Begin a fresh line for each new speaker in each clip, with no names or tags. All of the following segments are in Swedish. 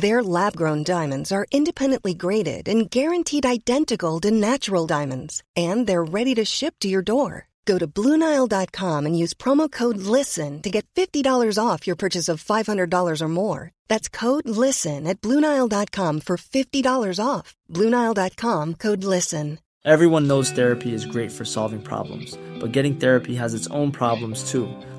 Their lab grown diamonds are independently graded and guaranteed identical to natural diamonds, and they're ready to ship to your door. Go to BlueNile.com and use promo code LISTEN to get $50 off your purchase of $500 or more. That's code LISTEN at BlueNile.com for $50 off. BlueNile.com code LISTEN.
Everyone knows therapy is great for solving problems, but getting therapy has its own problems too,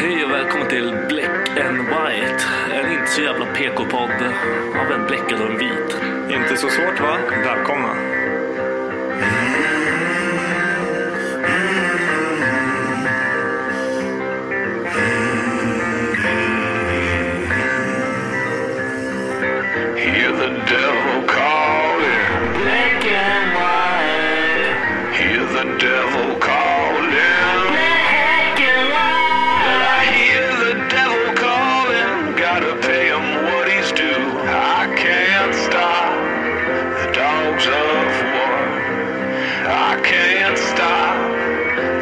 Hej och välkommen till Black and White. En inte så jävla PK-podd av en bläckad och en vit.
Inte så svårt va? Välkomna.
Hear the devil calling. Black and white. Hear the devil calling. Black and white. I hear the devil calling. Gotta pay him what he's due. I can't stop the dogs of war. I can't stop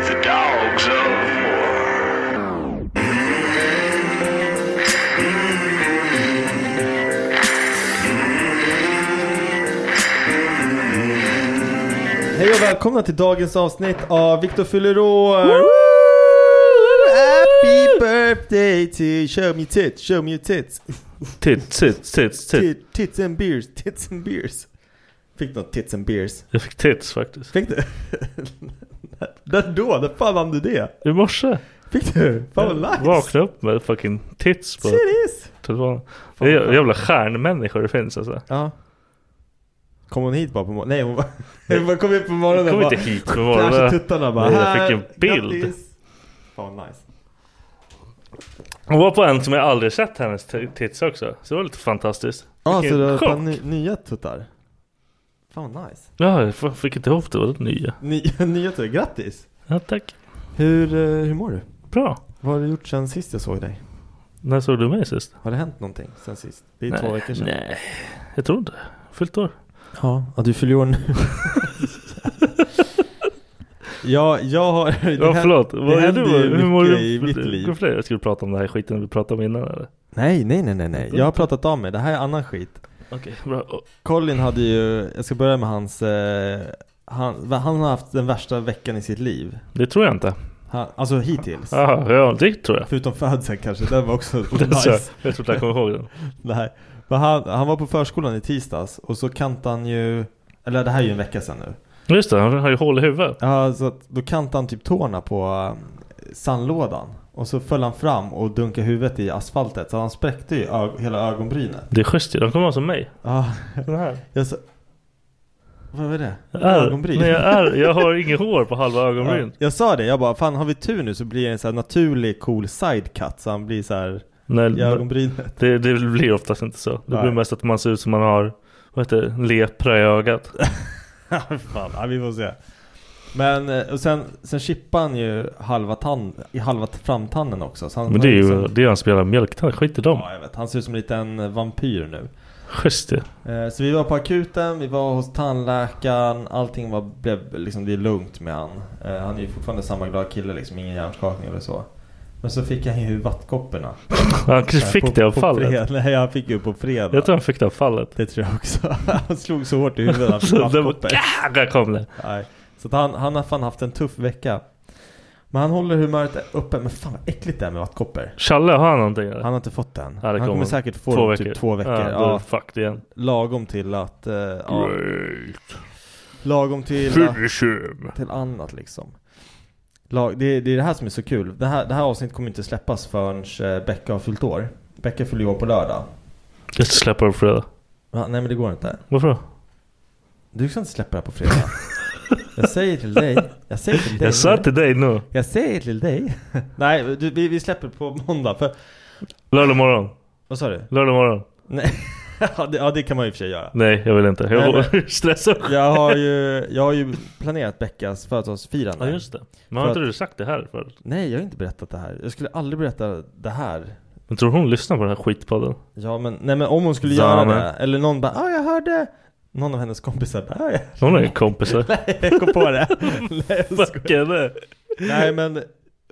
the dogs of war.
Hej och välkomna till dagens avsnitt av Viktor fyller år! Happy birthday to show me tits, show me your tits.
Tits, tits, tits, tits.
Tit- Tits and beers, tits and beers. Fick något tits and beers?
Jag fick tits faktiskt.
Fick du? När då? När fan vann du det?
I morse.
Fick du? Fan vad nice!
Vaknade upp med fucking tits på
Seriöst?
telefonen. Det är jä- jävla stjärnmänniskor det finns alltså.
Ja. Kom hon hit bara på morgonen? Nej hon bara- hon bara kom hit på morgonen
Kom
och
inte
bara
hit på
flashade
morgonen.
tuttarna bara
Nej, jag fick en
"Här,
bild."
grattis." Fan vad nice.
Hon var på en som jag aldrig sett hennes t- tits också. Så det var lite fantastiskt.
Ja,
Vilken
så du har
chock.
fan ny, nya tuttar? Fan vad nice.
Ja, jag f- fick inte ihop det. Var det nya?
Nya, nya tuttar, grattis!
Ja, tack.
Hur, eh, hur mår du?
Bra.
Vad har du gjort sen sist jag såg dig?
När såg du mig sist?
Har det hänt någonting sen sist? Det är två veckor sedan.
Nej, jag tror inte det. Fyllt år.
Ja, ja du fyller ju år nu. ja, jag har... det
Ja
händer-
förlåt,
det
vad är
händer
du?
ju
Hur mår
mycket
du?
i mitt liv.
Varför är det Jag skulle prata om den här skiten vi pratade om innan eller?
Nej, nej, nej, nej, nej. Jag har pratat om mig. Det här är annan skit.
Okej, bra. Och-
Colin hade ju, jag ska börja med hans... Eh, han, han har haft den värsta veckan i sitt liv.
Det tror jag inte.
Han, alltså hittills.
Jaha, ja det tror jag.
Förutom födseln kanske, den var också
Den tror jag.
nice.
Jag tror inte jag kommer ihåg den.
Nej. Men han, han var på förskolan i tisdags och så kantade han ju, eller det här är ju en vecka sedan nu.
Just det, han har ju hål i huvudet.
Ja, så att då kantade han typ tårna på eh, sandlådan. Och så föll han fram och dunkade huvudet i asfaltet så han spräckte ju ö- hela ögonbrynet.
Det är schysst ju, de kommer vara som mig.
Ja,
Den här.
jag så... Vad var det?
Jag är,
Ögonbryn?
nej, jag, är, jag har inget hår på halva
Ja,
ögonbrynet.
jag sa det, jag bara fan har vi tur nu så blir det en så här naturlig cool side cut så han blir så här
Nej,
i ögonbrynet.
det, det blir oftast inte så. Det blir
Nej.
mest att man ser ut som man har, vad heter det, lepra i ögat.
Fan, ja, vi får se. Men eh, och sen, sen chippade han ju halva, tand, i halva t- framtanden också. Så han, liksom-
Men det är ju
han-
det är ju han som spelar mjölktand, skit i dem.
Ja, jag vet. Han ser ut som en liten eh, vampyr nu.
Just det.
Eh, Så vi var på akuten, vi var hos tandläkaren, allting var, blev liksom, det är lugnt med han. Eh, Han är ju fortfarande samma glada kille liksom, ingen hjärnskakning eller så. Men så fick han ju vattkopporna.
Han kanske
På-
fick det av
på
fallet.
fred- Nej, han fick ju på fredag.
Jag tror han fick det av fallet.
Det tror jag också. Han slog så hårt i huvudet han fick
Så det var,
vattkoppor.
Ah, där kom det.
Nej. Så att han, han har fan haft en tuff vecka. Men han håller humöret uppe. Men fan vad äckligt det är med vattkoppor.
Challe, har han någonting eller?
Han har inte fått den.
Ja, det
han kommer
kommer.
säkert få två typ två veckor.
Ja,
Ja,
då är det fucked igen.
lagom till att... Eh, ja,
Great.
lagom till, att-
Finish
till annat liksom. Lag, det, det är det här som är så kul. Det här, det här avsnittet kommer inte släppas förrän eh, Becka har fyllt år. Becka fyller ju år på lördag.
Jag ska släppa det på fredag.
Ja, nej men det går inte.
Varför då?
Du ska inte släppa det här på fredag. Jag säger till dig. Jag säger till dig.
Jag sa till dig nu.
Jag säger till dig. Nej, du, vi, vi släpper på måndag. För,
Lördag morgon.
vad sa du?
Lördag morgon.
Nej. ja, det, ja, det kan man ju i och för sig göra.
Nej, jag vill inte. Jag
Nej,
stressar.
Jag har ju, jag har ju planerat Beckas
Ja,
födelsedagsfirande.
just det. Men har
För
inte
att-
du sagt det här förut?
Nej, jag har inte berättat det här. Jag skulle aldrig berätta det här.
Men tror hon lyssnar på den här skitpodden?
Ja, men, nej, men om hon skulle
Ja,
göra
men-
det. Eller någon bara ah, jag hörde. Någon av hennes kompisar bara ah, jag,
Hon har ju kompisar.
jag kom på det. nej, jag skojar.
Fuck henne.
Nej men,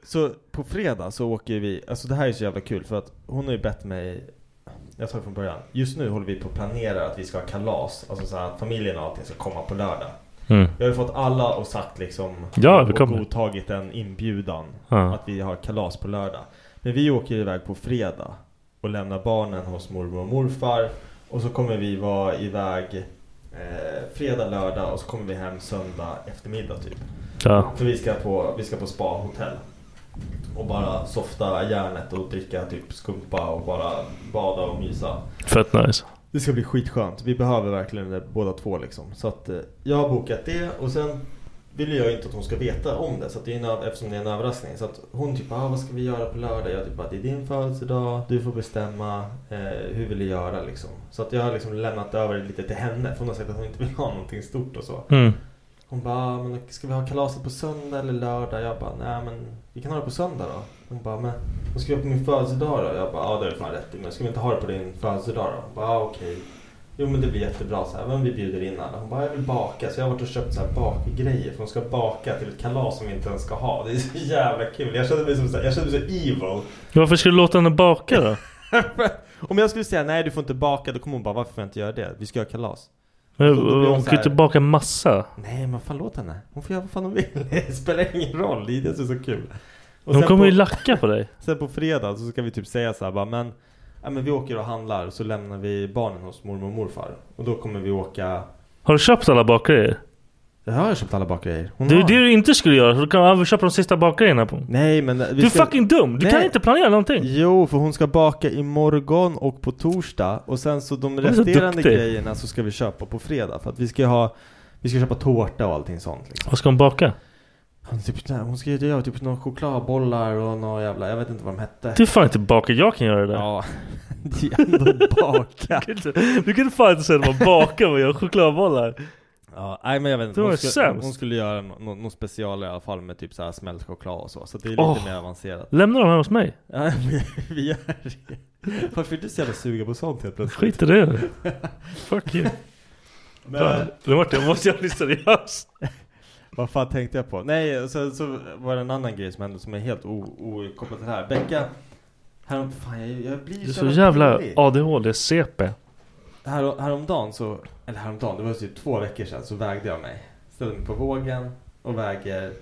så på fredag så åker vi, alltså det här är så jävla kul för att hon har ju bett mig Jag tar det från början, just nu håller vi på att planera att vi ska ha kalas, alltså så här, att familjen och allting ska komma på lördag
Mm.
Jag har ju fått alla och sagt liksom
Ja, vi
och
kommer.
godtagit en inbjudan
Ja.
att vi har kalas på lördag Men vi åker ju iväg på fredag och lämnar barnen hos mormor och morfar och så kommer vi vara iväg eh, fredag, lördag och så kommer vi hem söndag eftermiddag typ
Ja.
för vi ska på, vi ska på spa-hotell. Och bara softa hjärnet och dricka typ skumpa och bara bada och mysa.
Fett nice.
Det ska bli skitskönt. Vi behöver verkligen det båda två liksom. Så att eh, jag har bokat det och sen vill jag inte att hon ska veta om det. Så att det är en, öv- eftersom det är en överraskning. Så att hon typ ah, vad ska vi göra på lördag? Jag typ bara, det är din födelsedag. Du får bestämma. Eh, hur vill du göra liksom? Så att jag har liksom lämnat över det lite till henne. För hon har sagt att hon inte vill ha någonting stort och så.
Mm.
Hon bara, "Ah, men ska vi ha kalaset på söndag eller lördag? Jag bara, nej men vi kan ha det på söndag då. Hon bara, men vad ska vi ha på min födelsedag då? Jag bara, ja det är fan rätt i, men ska vi inte ha det på din födelsedag då? Hon bara, "Ah, okej. Jo men det blir jättebra så här, men vi bjuder in alla. Hon bara, jag vill baka. Så jag har varit och köpt så här bakgrejer för hon ska baka till ett kalas som vi inte ens ska ha. Det är så jävla kul. Jag kände mig som så, här, jag kände mig så evil.
Varför ska du låta henne baka då?
Om jag skulle säga nej du får inte baka, då kommer hon bara, varför får jag inte göra det? Vi ska göra kalas.
Men
Så det blir
Hon
så
kan ju
här-
inte baka massa.
Nej men fan låt henne. Hon får göra vad fan hon vill. Det spelar ingen roll. Det är det som är så kul. Och
Hon
sen
kommer
på,
ju lacka på dig.
Sen på fredag så ska vi typ säga så här bara, men, ja, men vi åker och handlar och så lämnar vi barnen hos mormor och morfar. Och då kommer vi åka.
Har du köpt alla bakgrejer?
Jag har köpt alla bakgrejer. Hon
Det är
har.
det du inte skulle göra. Så du kan aldrig köpa de sista bakgrejerna. På.
Nej men. Vi
Du är fucking dum! Du
Nej.
kan inte planera någonting.
Jo, för hon ska baka imorgon och på torsdag och sen så de
är så
resterande
duktig.
grejerna så ska vi köpa på fredag för att vi ska ju ha Vi ska köpa tårta och allting sånt liksom.
Vad ska hon baka?
Hon, typ, hon ska göra typ några chokladbollar och några jävla, jag vet inte vad de hette
Du är fan inte baka. Jag kan göra det där.
Ja, det är ändå baka.
Du kan inte- Du kan inte fan inte säga att man bakar och gör chokladbollar.
ja, nej men jag vet inte.
Det var
Hon
ju
skulle,
sämst.
hon skulle göra något no, no special i alla fall med typ så här smält choklad och så. Så det är lite
Åh.
mer avancerat.
Lämna dem här hos mig.
Ja, vi- vi gör det. Varför är du så jävla sugen på sånt helt plötsligt?
Skit i det. Fuck you.
Men,
Nu vart jag, måste jag bli seriös?
vad fan tänkte jag på? Nej, och sen så var det en annan grej som hände som är helt o- okopplad till det här. Becka, härom, fan jag, jag blir
Du är så jävla
pirrig.
ADHD-CP.
Här, häromdagen så, eller häromdagen, det var typ två veckor sedan så vägde jag mig. Ställde mig på vågen och väger...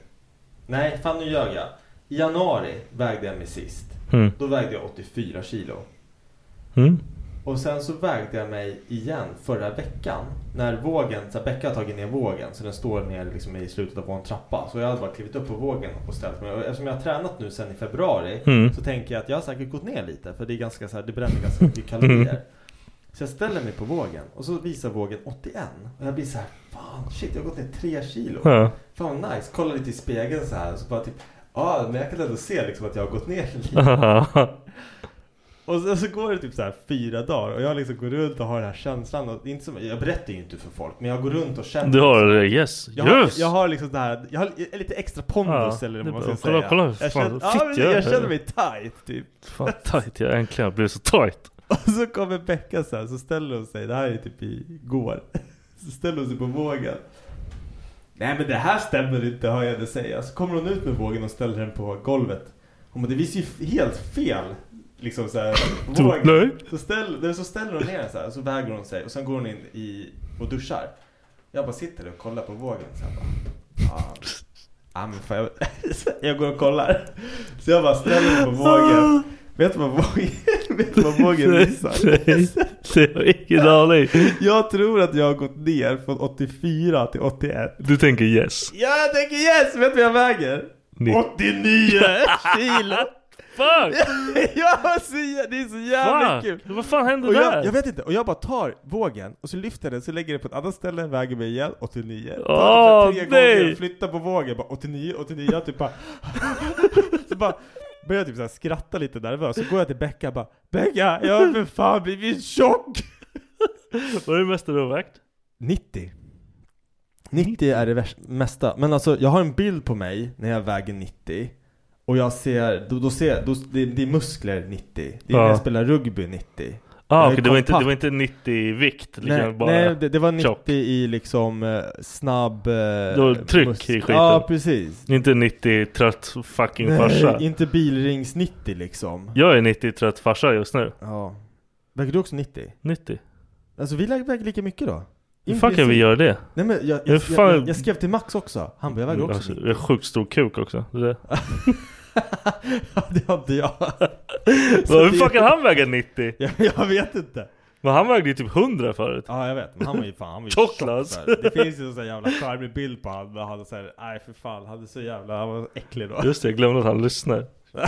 Nej, fan nu ljög jag. I januari vägde jag mig sist.
Mm.
Då vägde jag 84 kilo.
Mm.
Och sen så vägde jag mig igen förra veckan. När vågen, så här, Becka har tagit ner vågen så den står ner liksom i slutet av vår trappa. Så jag hade bara klivit upp på vågen och ställt mig. Och eftersom jag har tränat nu sen i februari
Mm.
så tänker jag att jag har säkert gått ner lite. För det är ganska så här, det bränner ganska mycket kalorier. Så jag ställer mig på vågen och så visar vågen 81. Och jag blir så här, fan shit jag har gått ner 3 kilo.
Ja.
Fan vad nice. Kollar lite i spegeln så här och så bara typ, ja ah, men jag kan ändå se liksom att jag har gått ner lite. Och sen så går det typ så här fyra dagar och jag liksom går runt och har den här känslan och det är inte som, Jag berättar ju inte för folk men jag går runt och känner
Du har yes.
jag har,
Yes!
jag har liksom det här, jag har lite extra pondus
Ja,
eller
det
vad man
är
ska
bra. Kolla,
säga
kolla hur
jag
fan
känner,
fit
ja, men
jag är.
jag känner mig tight typ
Fan tight. Jag äntligen har blivit så tight.
Och så kommer Becka så här, så ställer hon sig, det här är typ igår. Så ställer hon sig på vågen. Nej men det här stämmer inte hör jag henne säga. Så kommer hon ut med vågen och ställer den på golvet. Hon bara, det visar ju helt fel. Liksom så här, våg.
Nej.
Så, ställ, så ställer hon ner den så här, så väger hon sig och sen går hon in i, och duschar. Jag bara sitter där och kollar på vågen så här bara, "Fan." Ja men fan, jag, jag går och kollar. Så jag bara ställer mig på vågen. Vet du vad vågen, vet du vad vågen visar?
Nej, det har jag ingen aning.
Jag tror att jag har gått ner från 84 till 81.
Du tänker yes.
Ja, jag tänker yes! Vet du vad jag väger?
Ni-
89 kilo!
Fuck!
Jag har så, jä- det är så jävla kul!
Fuck! Vad fan hände
Och jag, jag
där?
vet inte, och jag bara tar vågen och så lyfter jag den, så lägger jag den på ett annat ställe, väger mig igen, 89 Tar den
Åh,
så här tre
nej.
gånger, flyttar på vågen, bara 89, 89, jag typ bara Så bara börjar jag typ så här skratta lite nervöst, så går jag till Becka och bara Becka, jag har för fan blivit tjock!
Vad är det mesta du har vägt?
90 90 är det värst- mesta, men alltså jag har en bild på mig när jag väger 90 Och jag ser, då, då ser jag, då, det, det är muskler 90 Det är när
Ja.
jag spelar rugby 90
Ah,
är
okej, det, var inte, det
kompakt.
var inte 90 i vikt. Liksom,
Nej,
bara.
nej det, det var 90
tjock.
i liksom eh, snabb... Eh,
var tryck
mus-
i skiten.
Ja, precis.
Inte 90 trött fucking farsa.
Nej, inte bilrings 90 liksom.
Jag är 90 trött farsa just nu.
Ja. Väger du också 90?
90.
Alltså vi lä- väger lika mycket då.
Hur fan kan vi göra det?
Nej men jag,
Hur
jag,
fan-
jag, jag, jag skrev till Max också. Han bara, jag väger också
Alltså,
90.
jag har sjukt stor kuk också. Det är det.
Ja, det har inte jag. Så
Hur
det-
fan kan han väga 90?
jag, jag vet inte.
Men han vägde ju typ 100 förut.
Ja jag vet, men han var ju fan han var ju
Tjock,
tjock
alltså.
där. Det finns ju en sån här jävla charmig bild på honom där han såhär, nej för fan, han är så jävla, han var äcklig då.
Just det, jag glömde att han lyssnar.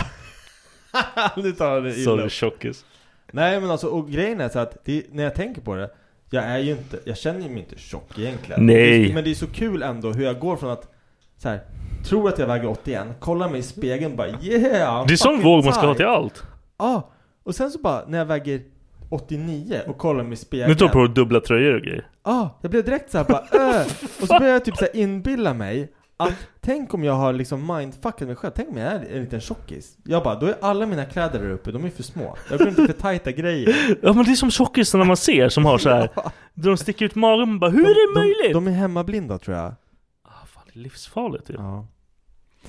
nu tar han det illa
Sorry tjockis.
Nej men alltså, och grejen är så att det, när jag tänker på det Jag är ju inte, jag känner mig inte tjock egentligen
Nej.
Det är- Men det är så kul ändå hur jag går från att så här, Tror att jag väger 81, kollar mig i spegeln och bara yeah I'm
Det är sån
fucking
våg man ska ha till
tight."
allt.
Ja, och sen så bara när jag väger 89 och kollar mig i spegeln
Nu tar du på dig dubbla tröjor och grejer.
ah, jag blev direkt såhär bara öh. Och så började jag typ såhär inbilla mig att tänk om jag har liksom mindfuckat mig själv, tänk om jag är en liten tjockis Jag bara, då är alla mina kläder där uppe, de är för små Jag går inte för tajta grejer
Ja men det är som tjockisarna man ser som har så här. De sticker ut magen och bara Hur är det möjligt?
De, de är hemmablinda tror jag.
Ah, fan, det är livsfarligt ju.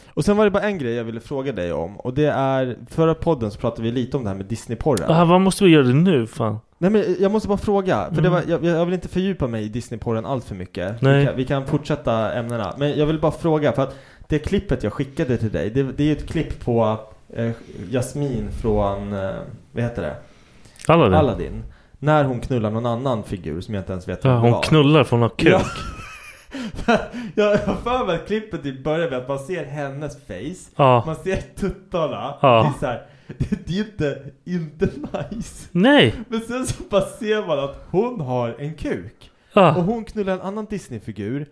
Och sen var det bara en grej jag ville fråga dig om och det är, förra podden så pratade vi lite om det här med Disneyporren.
Ah, vad måste vi göra det nu fan?
Nej men jag måste bara fråga, för det var, jag, jag vill inte fördjupa mig i Disneyporren allt för mycket.
Mm. Nej.
Vi, kan, vi kan fortsätta ämnena. Men jag vill bara fråga, för att det klippet jag skickade till dig, det, det är ju ett klipp på eh, Jasmin från, eh, vad heter det?
Aladdin?
Aladdin. När hon knullar någon annan figur som jag inte ens vet
Ja,
vem det
hon
var.
knullar för hon har kuk.
Ja. jag har för mig att klippet typ börjar med att man ser hennes face,
Ja.
man ser tuttarna,
Ja.
det är så här, det, det är inte, inte nice.
Nej!
Men sen så bara ser man att hon har en kuk. Och
Ah.
hon knullar en annan Disney-figur.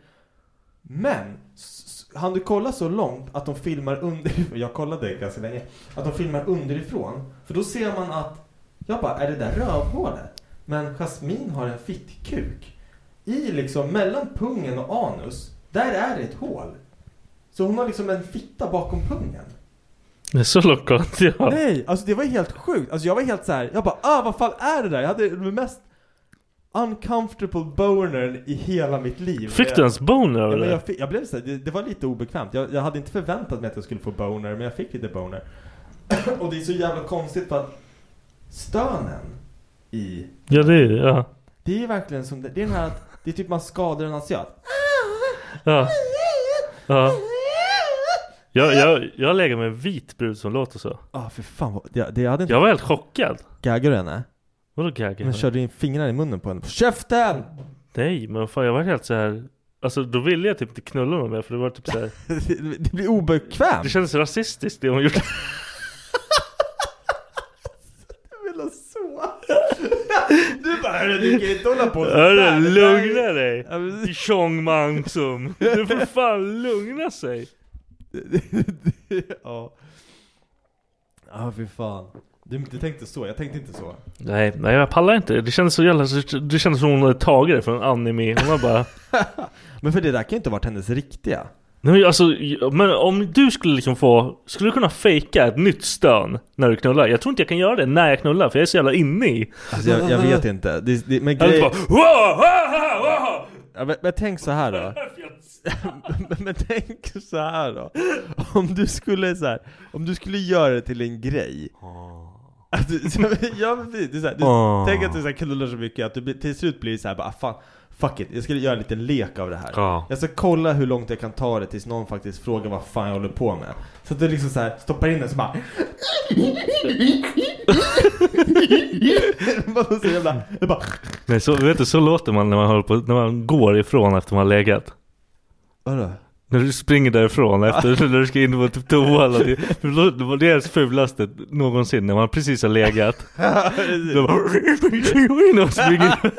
Men, han du kolla så långt att de filmar underifrån, jag kollade ganska länge, att de filmar underifrån. För då ser man att, jag bara, är det där rövhålet? Men Jasmine har en fittkuk. I liksom, mellan pungen och anus, där är det ett hål. Så hon har liksom en fitta bakom pungen.
Det är så långt går inte jag.
Nej, alltså det var helt sjukt. Alltså jag var helt så här. jag bara ah vad fan är det där? Jag hade den mest uncomfortable bonern i hela mitt liv.
Fick du ens boner
Ja,
över
men
det?
jag, fick, jag blev så här, det, det var lite obekvämt. Jag, jag hade inte förväntat mig att jag skulle få boner, men jag fick lite boner. Och det är så jävla konstigt för att stönen i,
Ja det är det. Ja.
det är ju verkligen som det, det är den här att, det är typ man skadar en asiat.
Ja. ja. Jag, jag, jag lägger med en vit brud som låter så.
Ah för fan, vad- det, det jag hade inte...
Jag var helt chockad.
Gaggar du henne?
Vadå gaggar?
Men körde du in fingrarna i munnen på henne? Käften!
Nej men fan jag var helt så här. Alltså då ville jag typ inte knulla någon mer för det var typ så här.
Det, det blir obekvämt!
Det kändes rasistiskt det hon gjorde.
spela så. Du bara hörru du kan inte hålla på
Hörru lugna
Ja,
dig!
men-
Chong Mang Sum. Du får fan lugna sig.
Ja. Ja fy fan. Du, du tänkte så, jag tänkte inte så.
Nej, nej jag pallar inte. Det kändes så jävla... Det kändes som hon hade tagit det från en anime. Hon var bara...
Men för det där kan ju inte ha varit hennes riktiga.
Nej, men, alltså, men om du skulle liksom få, skulle du kunna fejka ett nytt stön när du knullar? Jag tror inte jag kan göra det när jag knullar för jag är så jävla inne i.
Alltså jag, jag vet inte. Det, det, men
Jag
grej,
är bara, wow, wow, wow.
ja, men, men tänk så här då. men, men tänk så här då. Om du skulle så här, om du skulle göra det till en grej. Att du, så, ja men precis, det är så här, du,
Åh.
tänk att du så här knullar så mycket att du blir- till slut blir så här bara ah, fan, fuck it, jag skulle göra en liten lek av det här.
Ja.
Jag ska kolla hur långt jag kan ta det tills någon faktiskt frågar vad fan jag håller på med. Så att du liksom så här stoppar in den så bara Bara så jävla, det bara
Nej, så, vet du, så låter man när man, håller på, när man går ifrån efter man har legat.
Vadå?
När du springer därifrån efter när du ska in på typ toa eller det, det var det fulaste någonsin när man precis har legat. Då bara in och springer.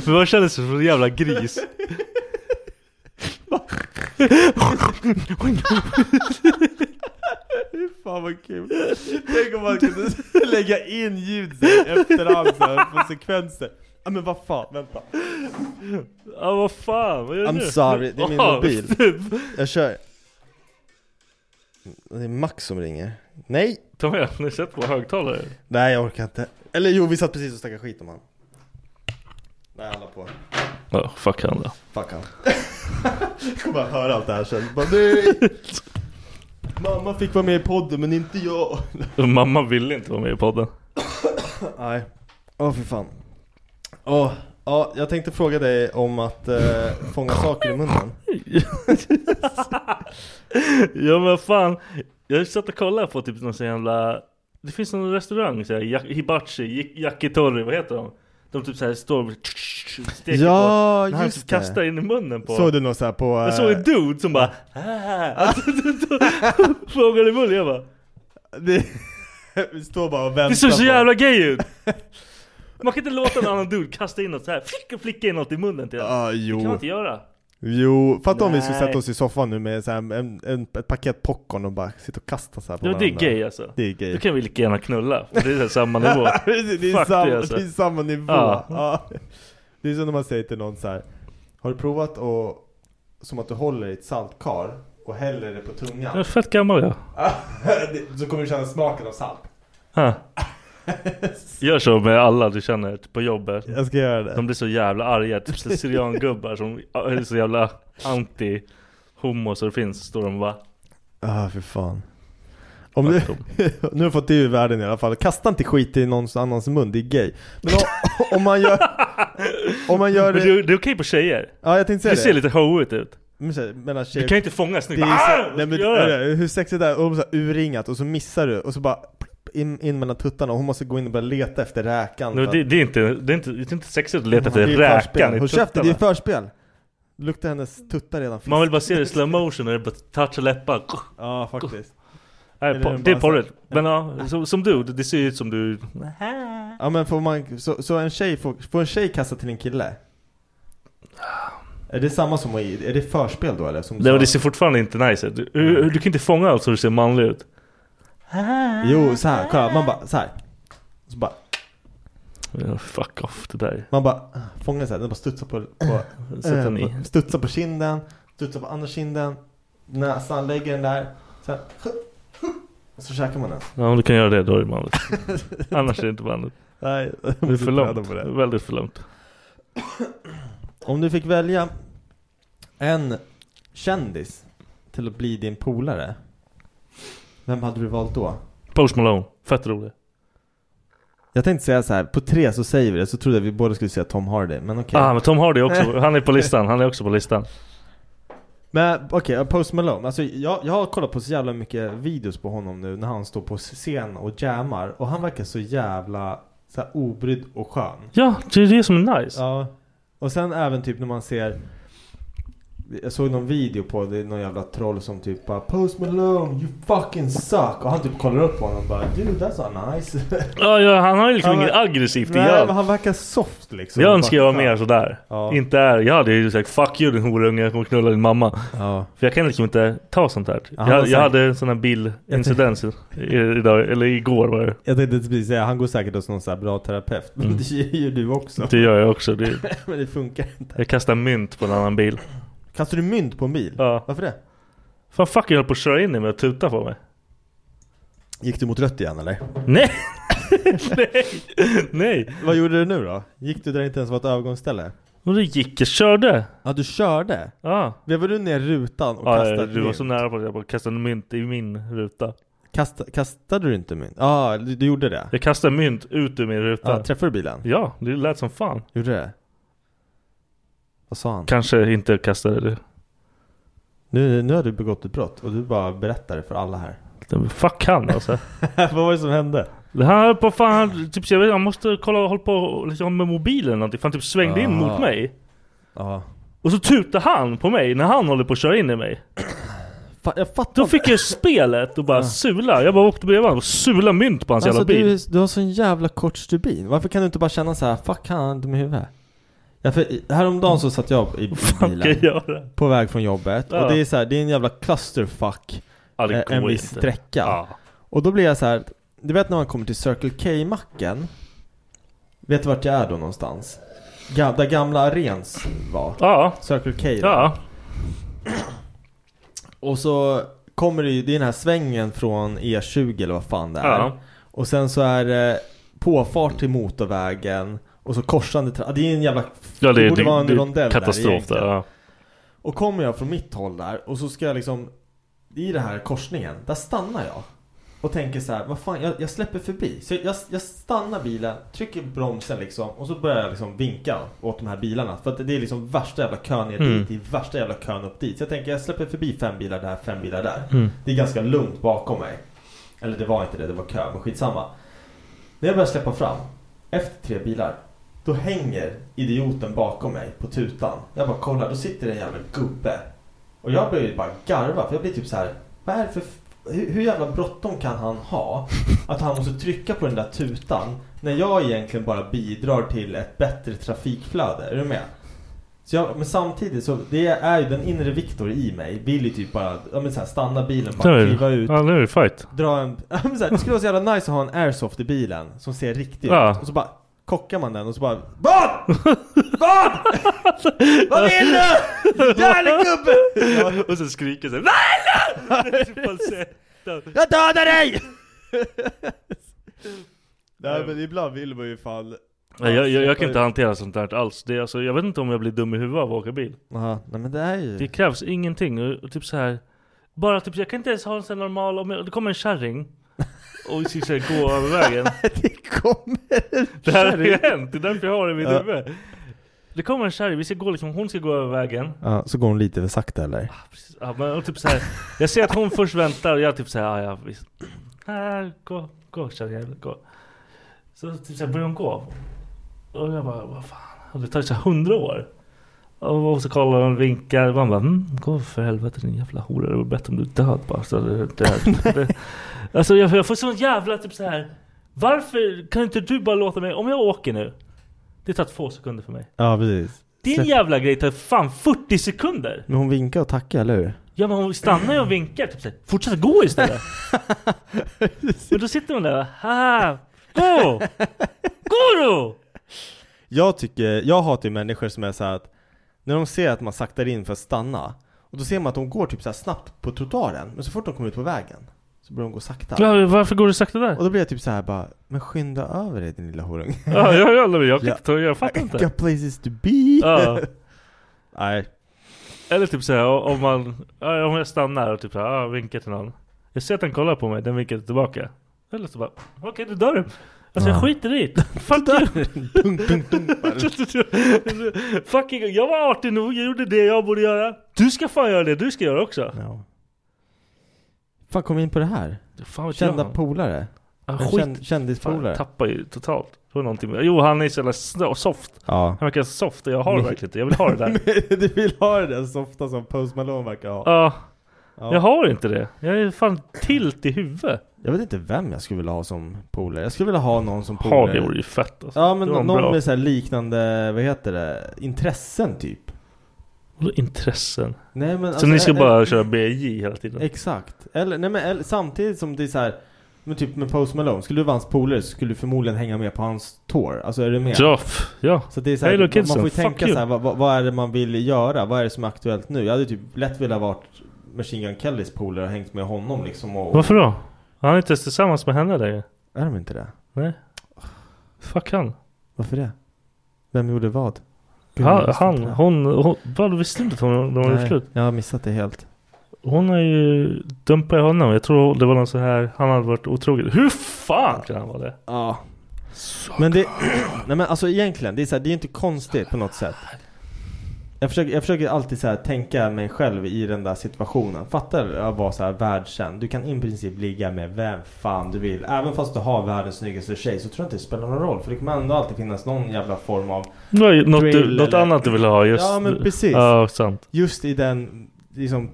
För man känner sig som en jävla gris.
Fan vad kul! Tänk om man kunde lägga in ljud så här efterhand så här, på sekvenser Ja men vad fan, vänta
Ja vad fan, vad gör du
I'm
nu?
sorry, det är min
Ja,
mobil.
typ.
Jag kör Mm, Det är Max som ringer Nej!
Ta med, ni sätter på högtalare.
Nej jag orkar inte Eller jo, vi satt precis och snackade skit om han Nej alla på,
Ja, fuck han då.
fuck han Jag kommer bara höra allt det här sen, bara nej! Mamma fick vara med i podden men inte jag
Mamma ville inte vara med i podden.
Nej. Åh fy fan. Åh, ja, jag tänkte fråga dig om att eh, fånga saker i munnen.
Ja men fan, jag satt och kollade på typ någon sån jävla Det finns någon restaurang, så här, ya- hibachi, Yi- yakitori, vad heter de? De typ såhär står och steker
Ja,
på, när han
just
typ
det.
kastar in i munnen på
Såg du något såhär på...
Jag såg en dude som bara "Ah." Frågade i munnen, jag bara
det, eh, vi står bara och väntar
Det såg så
på-
jävla gay ut! Man kan inte låta en annan dude kasta in något såhär, flick och flicka in något i munnen till en.
Ja,
Det kan man
jo.
inte göra
Jo, fatta om vi skulle
Nej.
sätta oss i soffan nu med så här, en, en, ett paket popcorn och bara sitta och kasta så här på
Ja det är
varandra.
gay alltså
Det är gay.
Då kan vi lika gärna knulla, för det är så här samma nivå
det, är
Fuck
samma,
det, alltså.
det är samma nivå.
Ja.
Ja. Det är som när man säger till någon så här. Har du provat och som att du håller i ett saltkar och häller det på
Jag är
tungan?
fett gammal jag
Det- så kommer du känna smaken av salt.
Huh. Gör så med alla du känner typ på jobbet.
Jag ska göra det.
De blir så jävla arga. Typ så syriangubbar som är så jävla anti homo så det finns. Står de och bara
Ah, för fan. Om du,
Fuck
nu har jag fått det ur världen i alla fall. Kasta inte skit i någon annans mun, det är gay. Men om, om man gör... Om man gör
Men det,
det...
det är okej på tjejer.
Ja, jag tänkte säga
Det
det.
ser lite hoigt ut.
Men så här, mellan tjejer
Du kan ju inte fånga snyggt.
Det är
Ah!
så, nej, men,
Gör det.
hörru, hur sexigt det är, och de så här urringat och så missar du och så bara plopp, in, in mellan tuttarna och hon måste gå in och börja leta efter räkan
Nej, men det, det, är inte, det, är inte, det är inte sexigt att leta efter
ju Mm, förspel.
räkan i
Håll käften, det är
tuttarna.
förspel! Luktar hennes tuttar redan fisk.
Man vill bara se det i slow motion när det bara touchar läppar.
Ja faktiskt
Nej,
Eller
po-
är det
det är
bara
porrigt. Men ja, som, som du, det ser ju ut som du...
Ja men får man, så, så en tjej får, får en tjej kasta till en kille? Är det samma som, är det förspel då eller? Som du
Nej, men det
sa?
ser fortfarande inte nice ut. Du, du kan inte fånga allt så det ser manligt ut.
Jo så här, kolla, man bara så här. Så bara,
Ja, fuck off det där.
man bara ah, fångar såhär, den bara studsar på, på
Sätt den i.
Eh, Studsar på kinden, studsar på andra kinden, näsan, lägger den där. Så, här, och så käkar man den.
Ja, om du kan göra det då är det manligt. Annars är det inte manligt.
Nej,
Det är för långt. Väldigt för långt.
Om du fick välja en kändis till att bli din polare. Vem hade du valt då?
Post Malone. Fett rolig.
Jag tänkte säga så här, på tre så säger vi det, så trodde jag vi båda skulle säga Tom Hardy, men okej.
Ah, men Tom Hardy också. Han är på listan. Han är också på listan.
Men okej, Post Malone. Alltså, jag, jag har kollat på så jävla mycket videos på honom nu när han står på scen och jammar. Och han verkar så jävla så här, obrydd och skön.
Ja, det är det som är nice.
Ja. Och sen även typ när man ser jag såg någon video på det, någon jävla troll som typ bara Post Malone, you fucking suck! Och han typ kollar upp på honom och bara Dude that's not nice!
Ja, ja han har ju liksom
Han
inget
var-
aggressivt i
Nej, men
allt.
han verkar soft liksom
Jag önskar jag var mer
Bara,
sådär.
Ja.
Inte är, jag hade ju sagt 'fuck you din horunge, jag kommer knulla din mamma'
Ja.
För jag kan liksom inte ta sånt här.
han har
Jag, jag
sagt-
hade en sån här bilincidens i- idag, eller igår var det.
Jag tänkte precis säga, han går säkert hos någon så här bra terapeut Men det gör du också
Det gör jag också. Det,
Mm. Men det funkar inte
jag kastar mynt på en annan bil.
Kastar du mynt på en bil?
Ja.
Varför det?
Fan fucking höll på att köra in i mig och tuta på mig.
Gick du mot rött igen eller?
Nej! Nej! Nej!
Vad gjorde du nu då? Gick du där det inte ens var ett övergångsställe?
Och det gick jag körde.
Ja du körde?
Ja.
Vevade du ner rutan och
ja
kastade
du var
mynt?
så nära på att jag bara kastade mynt i min ruta.
Kasta, kastade du inte mynt? Ja, ah, du, du gjorde det?
Jag kastade mynt ut ur min ruta.
Ja, träffade du bilen?
Ja, det lät som fan.
Gjorde du det? Vad sa han?
Kanske inte kastade det.
Nu, nu har du begått ett brott och du bara berättar det för alla här.
Fuck han alltså.
Vad var det som hände?
Det här höll på fan, typ, jag, vet, han måste kolla och hålla på liksom, med mobilen eller någonting. För han typ svängde in
Ah.
mot mig.
Ja.
Och så tutar han på mig när han håller på att köra in i mig.
Fa- jag fattar
Då
inte.
fick jag spelet och bara sula. Jag bara åkte bredvid honom och sula mynt på hans
Alltså
jävla bil.
du, du har sån jävla kort stubin. Varför kan du inte bara känna så här, fuck han, han är dum i huvudet? Ja, för häromdagen så satt jag i
Fan kan
bilen
jag göra?
på väg från jobbet
Ja.
och det är så här, det är en jävla clusterfuck
Ja,
eh,
det
en
går
viss
inte.
sträcka.
Ja.
Och då blir jag så här, du vet när man kommer till Circle K-macken? Vet du vart jag är då någonstans? Ga- där gamla Arens var.
Ja.
Circle K där.
Ja.
Och så kommer det ju, det är den här svängen från E20 eller vad fan det är.
Ja.
Och sen så är det påfart till motorvägen och så korsande tra- Det är en jävla...
Ja, det, det,
det borde vara en
det,
rondell där
katastrof där.
egentligen.
Ja.
Och kommer jag från mitt håll där och så ska jag liksom I den här korsningen, där stannar jag Och tänker så här, vad fan, jag, jag släpper förbi Så jag, jag, jag stannar bilen, trycker bromsen liksom Och så börjar jag liksom vinka åt de här bilarna För att det är liksom värsta jävla kön ner
Mm.
dit, det är värsta jävla kön upp dit Så jag tänker, jag släpper förbi fem bilar där, fem bilar där
Mm.
Det är ganska lugnt bakom mig Eller det var inte det, det var kö, men skitsamma När jag börjar släppa fram Efter tre bilar Då hänger idioten bakom mig på tutan Jag bara kollar, då sitter det en jävla gubbe Och jag börjar ju bara garva för jag blir typ så här. Vad är det för f- hur, hur jävla bråttom kan han ha? Att han måste trycka på den där tutan När jag egentligen bara bidrar till ett bättre trafikflöde, är du med? Så jag, men samtidigt så, det är ju den inre Viktor i mig vill ju typ bara, ja men så här, stanna bilen, bara
Nu.
kliva ut
Ja, nu är det fight.
dra en... Ja, men så här, det skulle vara så jävla nice att ha en airsoft i bilen som ser riktig
Ja.
ut. Och så bara kockar man den och så bara VAD? VAD? Vad vill du? Jävla gubbe! Jag,
Och så skriker så här.
jag dödar dig! Nej men ibland vill man ju fan...
Nej, jag, jag, jag kan inte hantera sånt där alls. Det är, alltså, jag vet inte om jag blir dum i huvudet av att åka bil.
Aha, nej men det är ju...
Det krävs ingenting. Och, och typ så här. Bara typ, jag kan inte ens ha en sån här normal, om jag, det kommer en kärring. Och så, så här, gå över vägen.
det kommer en
Det här har ju
kärring.
hänt, det är därför jag har det i mitt
Ja.
huvud. Det kommer en kärring, vi ska gå liksom, hon ska gå över vägen.
Ja, så går hon lite för sakta eller?
Precis. Ja, men, och typ så här, jag ser att hon först väntar och jag typ såhär, ja ja visst. Här, gå, gå kärringjävel, gå. Så typ så här, börjar hon gå. Och jag bara, vad fan. Och det tar ju så här hundra år. Och och så kollar hon, vinkar. Och man bara, mm, gå för helvete din jävla hora. Det vore bättre om du död bara. Så det, det, det. Alltså jag, jag får sån jävla typ så här. Varför kan inte du bara låta mig, om jag åker nu. Det tar två sekunder för mig.
Ja precis.
Din
Släpp-
jävla grej tar fan 40 sekunder.
Men hon vinkar och tackar eller hur?
Ja men hon stannar ju och vinkar typ såhär, fortsätt gå istället! men då sitter hon där och "Haha, gå! Gå då!
Jag tycker, jag hatar ju människor som är så här att När de ser att man saktar in för att stanna Och då ser man att de går typ så här snabbt på trottoaren Men så fort de kommer ut på vägen Så börjar de gå sakta
Ja, varför går du sakta där?
Och då blir jag typ så här bara Men skynda över dig din lilla horung
Ja, jag, jag, jag, jag, kan
Ja.
inte ta- jag fattar
I
inte.
got places to be
Ja.
Nej
Eller typ såhär om man, ja, om jag stannar och typ såhär, ja, vinkar till någon. Jag ser att den kollar på mig, den vinkar tillbaka. Eller så bara, okej då dör du. Alltså jag
Ja.
skiter i det. Fuck you!
Dunk, dunk, dunk.
Fucking, jag var artig nog, jag gjorde det jag borde göra. Du ska fan göra det du ska göra också.
ja. Fan kom vi in på det här?
Fan, vet
Kända
jag.
polare?
Ja,
En
skit
känd- Kändispolare?
Fan, tappar ju totalt. Det var någonting med. Jo, han är så jävla sn- soft.
Ja
Han verkar soft och jag har det verkligen inte. Jag vill ha det där.
Du vill ha det där softa som Post Malone verkar ha
Ja,
Ja.
jag har inte det. Jag är fan tilt i huvudet.
Jag vet inte vem jag skulle vilja ha som polare. Jag skulle vilja ha någon som
Ja, det
polare.
vore ju fett alltså.
Ja men
Det var en
någon
bra.
med så här liknande, vad heter det, intressen typ.
Vadå intressen?
Nej men
så ni ska
eh,
bara
eh,
köra BJ hela tiden?
Exakt. Eller, nej men eller, samtidigt som det är så här. Men typ med Post Malone, skulle du vara hans polare så skulle du förmodligen hänga med på hans tour. Alltså är du med?
Ja, f- ja.
Så det är så här,
Hey, look,
man, man får ju
Kidson, fuck
tänka
you.
så här, vad, vad- vad är det man vill göra? Vad är det som är aktuellt nu? Jag hade typ lätt velat varit Machine Gun Kellys polare och hängt med honom liksom och...
Varför då? Han är inte ens tillsammans med henne längre.
Är de inte det?
Nej. Fuck han.
Varför det? Vem gjorde vad? Gud, jag
Han,
visste
han
inte det.
hon, hon. Vad du visste inte att hon, de var
Nej,
gjort slut?
Jag har missat det helt.
Hon har ju dumpat honom. Jag tror det var någon så här. Han hade varit otrogen. Hur fan kan han vara det?
Ja. Men det... Nej men alltså egentligen, det är, så här, det är ju inte konstigt på något sätt. Jag försöker, jag försöker alltid så här, tänka mig själv i den där situationen. Fattar du att vara så här världskänd? Du kan i princip ligga med vem fan du vill. Även fast du har världens snyggaste tjej så tror jag inte det spelar någon roll. För det kommer ändå alltid finnas någon jävla form av...
Det var ju något, du,
Drill
något
eller-
annat du ville ha just.
Ja, men precis.
Ja, sant.
Just i den... Liksom...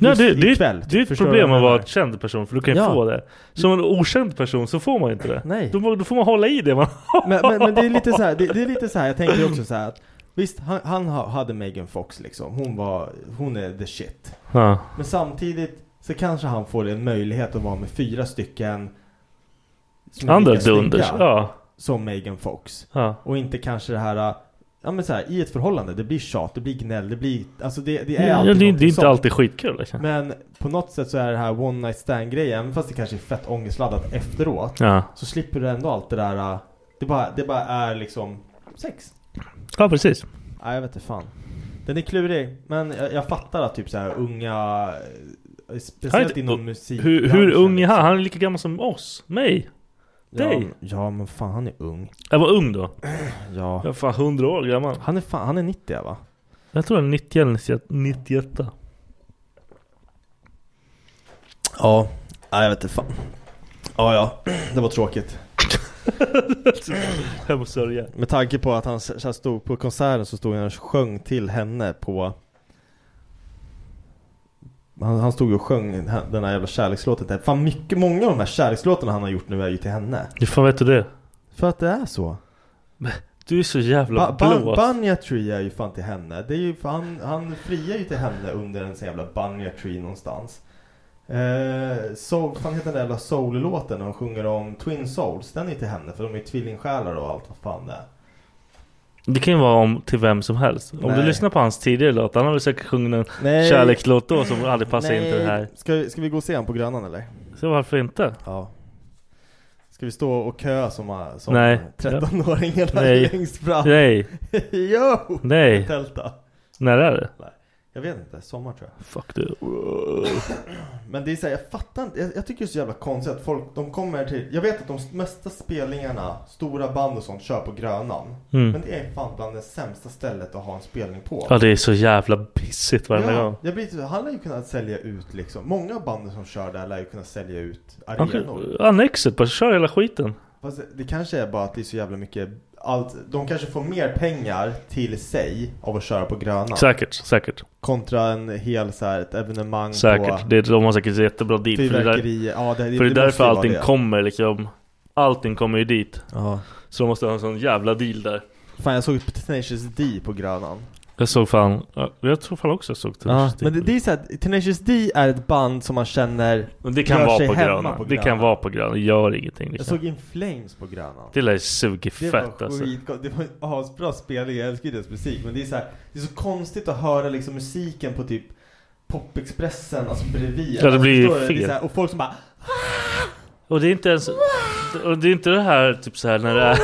Nej,
just
det, det,
ikväll,
det är ett
förstår du
problem
vad
att
jag
vara
menar?
en känd person. För du kan ju
Ja.
få det. Som en okänd person så får man ju inte det.
Nej.
Då, må- då får man hålla i det man
men, men, men det är lite så här, det, det är lite så här, jag tänker också så här att Visst, han, han ha- hade Megan Fox liksom, hon var, hon är the shit.
Ja.
Men samtidigt så kanske han får en möjlighet att vara med fyra stycken som är lika
Andra dunders.
snygga
Ja.
Som Megan Fox.
ja.
Och inte kanske det här, ja men så här, i ett förhållande, det blir tjat, det blir gnäll, det blir, alltså det, det är
Ja, det,
alltid
det är
någonting
inte
sånt.
alltid skitkul. Liksom.
Men på något sätt så är det här one night stand grejen, även fast det kanske är fett ångestladdat efteråt.
Ja.
Så slipper du ändå allt det där äh, Det bara, det bara är liksom sex
ja, precis.
Nej jag vet inte fan Den är klurig Men jag, jag fattar att typ så här unga eh,
Han är
Speciellt
inte-
inom musik
Hur, hur ung är han? Han är lika gammal som oss. Mig.
Ja,
dig?
men- ja men fan han är ung
Jag var ung då.
Ja
Jag var fan 100 år gammal.
Han är fan, han är 90 va?
Jag tror jag är 90 eller 91. 91.
Ja Nej jag vet inte fan Ja ja, det var tråkigt
Jag måste sörja.
Med tanke på att han så här stod på konserten så stod han och sjöng till henne på han, han stod och sjöng den här jävla kärlekslåten till henne. Fan mycket, många av de här kärlekslåtarna han har gjort nu är ju till henne
Hur fan vet du det?
För att det är så
Du är så jävla
ba, ba,
blå.
Banja Tree är ju fan till henne Det är ju, för han, han friar ju till henne under en sån jävla Banja Tree någonstans eh, so, fan heter den där jävla soul-låten när de sjunger om Twin Souls Den är till henne för de är tvillingsjälar och allt vad fan det är
Det kan ju vara om till vem som helst. Om
Nej.
du lyssnar på hans tidigare låt. Han har väl säkert sjungit en
Nej.
kärlekslåt då som aldrig passar in till det här.
Ska, ska vi gå och se han på Grönan eller?
Så varför inte?
Ja Ska vi stå och köa som, ah, som
Nej.
13-åringarna
Nej.
längst fram?
Nej.
jo!
Nej.
Tälta
När är det?
Jag vet inte, sommar tror jag
Fuck du.
Men det är såhär, jag fattar inte, jag, jag tycker det är så jävla konstigt att folk, de kommer till Jag vet att de mesta spelningarna, stora band och sånt kör på Grönan
Mm.
Men det är fan bland det sämsta stället att ha en spelning på
Ja det är så jävla pissigt varenda
Ja,
gång.
jag blir, typ- han lär ju kunna sälja ut liksom Många av banden som kör där lär ju kunna sälja ut
Han
arenor
kan- Annexet bara, kör hela skiten.
Fast det kanske är bara att det är så jävla mycket allt, De kanske får mer pengar till sig av att köra på gröna
Säkert, säkert.
Mm. Kontra en hel så här, ett evenemang
Säkert.
på
Det, de har säkert jättebra deal. För det, där,
fyrverkerier ja, det,
för det är
måste
därför
ju vara
allting
det.
kommer liksom. Allting kommer ju dit.
ja.
Så de måste ha en sån jävla deal där.
Fan jag såg ett Tenacious D på grönan
Jag såg fan, ja, jag tror fan också jag såg
ja,
Tenacious D.
Men det, det är så här, Tenacious D är ett band som man känner
Men det kan
gör
vara
sig
på
hemma
gröna.
på
Det kan
gröna.
vara på gröna, gör ingenting
Jag
liksom.
såg In Flames på grönan
Det lär ju suga
Det
fett
var
alltså.
skitgott. Det var en asbra spelning, jag älskar ju deras musik. Men det är så här, det är så konstigt att höra liksom musiken på typ Popexpressen, alltså bredvid.
Ja, det blir ju
alltså, förstår du? Det är
fel.
så här, och folk som bara
Och det är inte ens, och det är inte det här typ så här när det är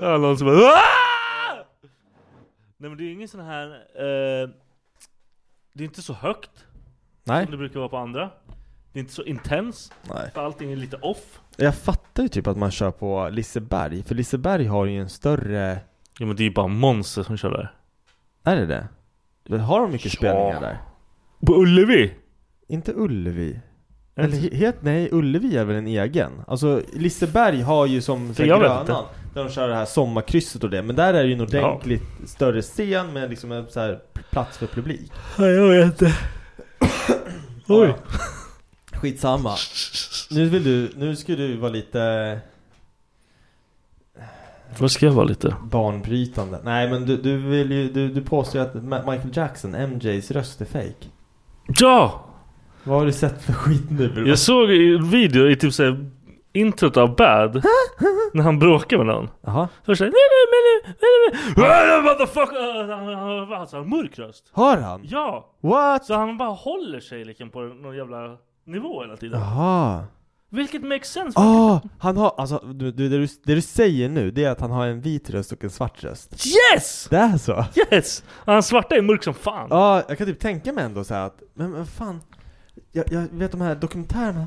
Ja, någon som bara "Aah!" Nej men det är ju ingen sån här, eh, det är inte så högt
Nej.
som det brukar vara på andra. Det är inte så intens,
Nej.
för allting är lite off.
Jag fattar ju typ att man kör på Liseberg, för Liseberg har ju en större...
Ja men det är ju bara monster som kör där.
Är det det? Men Har de mycket
Ja.
spelningar där?
På Ullevi?
Inte Ullevi? Eller he- helt, nej, Ullevi är väl en egen? Alltså Liseberg har ju som så här,
jag vet
Grönan, där de kör det här sommarkrysset och det, men där är det ju en ordentligt större scen med liksom en så här plats för publik.
Ja, jag vet inte. Oj.
Skitsamma. Nu vill du, nu ska du vara lite
Vad ska jag vara lite?
barnbrytande. Nej men du, du vill ju, du, du påstår ju att Ma- Michael Jackson, MJs röst är fake.
Ja!
Vad har du sett för skit nu bror?
Jag såg i en video i typ såhär introt av Bad. när han bråkar med någon.
Jaha.
Först såhär... Nej, nej, nej, nej, nej, "Äh, nej. Motherfucker! Han han- han- alltså, han har mörk röst.
Har han?
Ja!
What?
Så han bara håller sig liksom på någon jävla nivå hela tiden.
Jaha.
Vilket makes sense.
Ah, han har, alltså du, du, det, du, det du säger nu det är att han har en vit röst och en svart röst.
Yes!
Det är så?
Yes! Han svarta är mörk som fan.
Ja, jag kan typ tänka mig ändå så här att, men vad fan, jag, jag vet de här dokumentärerna.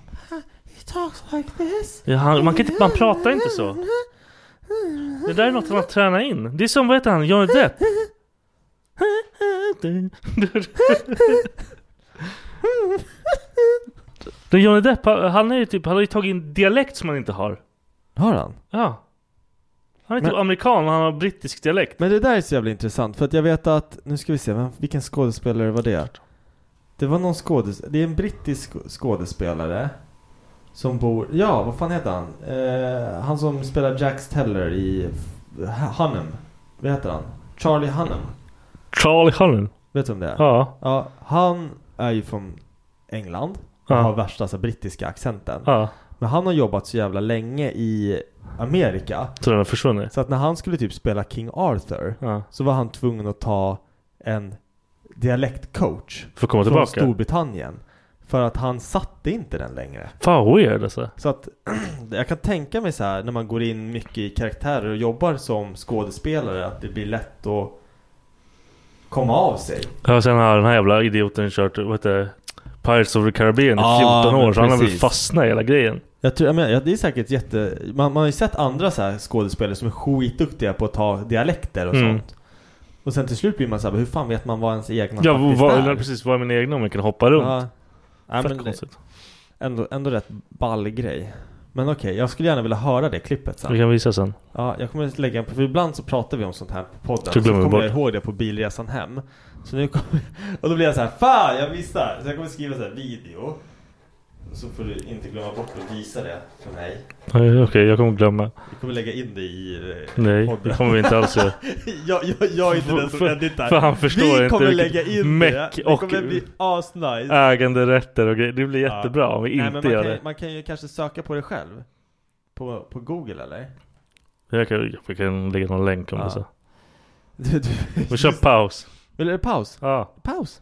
He talks like this.
Ja, han, man, kan inte, man pratar inte så. Det där är något han har tränat in. Det är som, vad heter han, Johnny Depp? Den Johnny Depp, han han är ju typ, han har ju tagit in dialekt som han inte har.
Har han?
Ja. Han är typ
Men-
amerikan och han har brittisk dialekt.
Men det där är så jävla intressant för att jag vet att, nu ska vi se, vem, vilken skådespelare var det? Det var någon skådespelare, det är en brittisk sk- skådespelare som bor, ja vad fan heter han? Eh, han som spelar Jax Teller i F- Hunnam, vad heter han? Charlie Hunnam,
Charlie Hunnam.
vet du vem det är?
Ja.
Ja, han är ju från England och
Ja.
har värsta så här, brittiska accenten.
Ja.
Men han har jobbat så jävla länge i Amerika
Så den har försvunnit.
så att när han skulle typ spela King Arthur
Ja.
så var han tvungen att ta en dialektcoach
För att komma
från
tillbaka.
Storbritannien. För att han satte inte den längre.
Fan vad weird alltså.
Så att jag kan tänka mig så här när man går in mycket i karaktärer och jobbar som skådespelare att det blir lätt att komma av sig.
Ja, sen har den här jävla idioten kört, vad heter det? Pirates of the Caribbean i
Ja,
14 år.
men
Så han har väl
precis.
fastnat i hela grejen.
Jag tror, jag menar, ja, det är säkert jätte... Man, man har ju sett andra så här skådespelare som är skitduktiga på att ta dialekter och
Mm.
sånt. Och sen till slut blir man så här, hur fan vet man vad ens egna
Ja,
faktiskt
vad,
är?
eller precis. Vad är min egna om jag kan hoppa runt?
Ja. Nej,
Fett
men det,
konstigt.
ändå, ändå rätt ball grej. Men okej, jag skulle gärna vilja höra det klippet sen.
Vi kan visa sen.
Ja, jag kommer att lägga en, för ibland så pratar vi om sånt här på podden.
Så
Så
Typ glömmer vi
kommer
bort.
jag ihåg det på bilresan hem. Så nu kommer, och då blir jag så här, fan jag missar! Så jag kommer skriva så här video. Och så får du inte glömma bort att visa det för mig.
Nej, Okej, jag kommer glömma.
Vi kommer lägga in det i eh,
Nej, det
podden.
kommer vi inte alls göra.
jag, jag, jag är inte den som
För-
editar.
för han förstår
vi
inte
kommer
vilket
lägga in det.
meck
Det
och-
kommer bli asnice.
Äganderätter och grejer. Det blir
Ja.
jättebra om vi
Nej, men
inte
man
gör
kan,
det.
Man kan ju kanske söka på det själv. På, på Google eller?
Jag kan, jag kan lägga någon länk om
Ja.
det så.
Du, du,
Vi kör paus.
Vill du paus?
Ja.
Paus!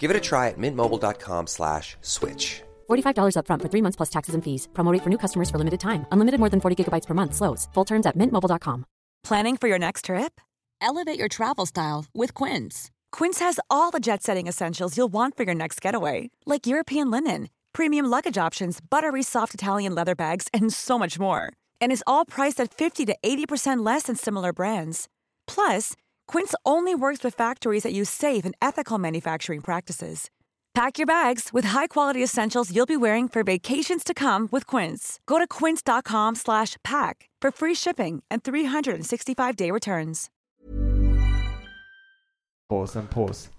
Give it a try at mintmobile.com slash switch.
$45 upfront for three months plus taxes and fees. Promo rate for new customers for limited time. Unlimited more than 40 gigabytes per month. Slows. Full terms at mintmobile.com.
Planning for your next trip? Elevate your travel style with Quince. Quince has all the jet setting essentials you'll want for your next getaway, like European linen, premium luggage options, buttery soft Italian leather bags, and so much more. And is all priced at 50 to 80% less than similar brands. Plus, Quince only works with factories that use safe and ethical manufacturing practices. Pack your bags with high-quality essentials you'll be wearing for vacations to come with Quince. Go to quince.com slash pack for free shipping and 365-day returns.
Paus, en paus.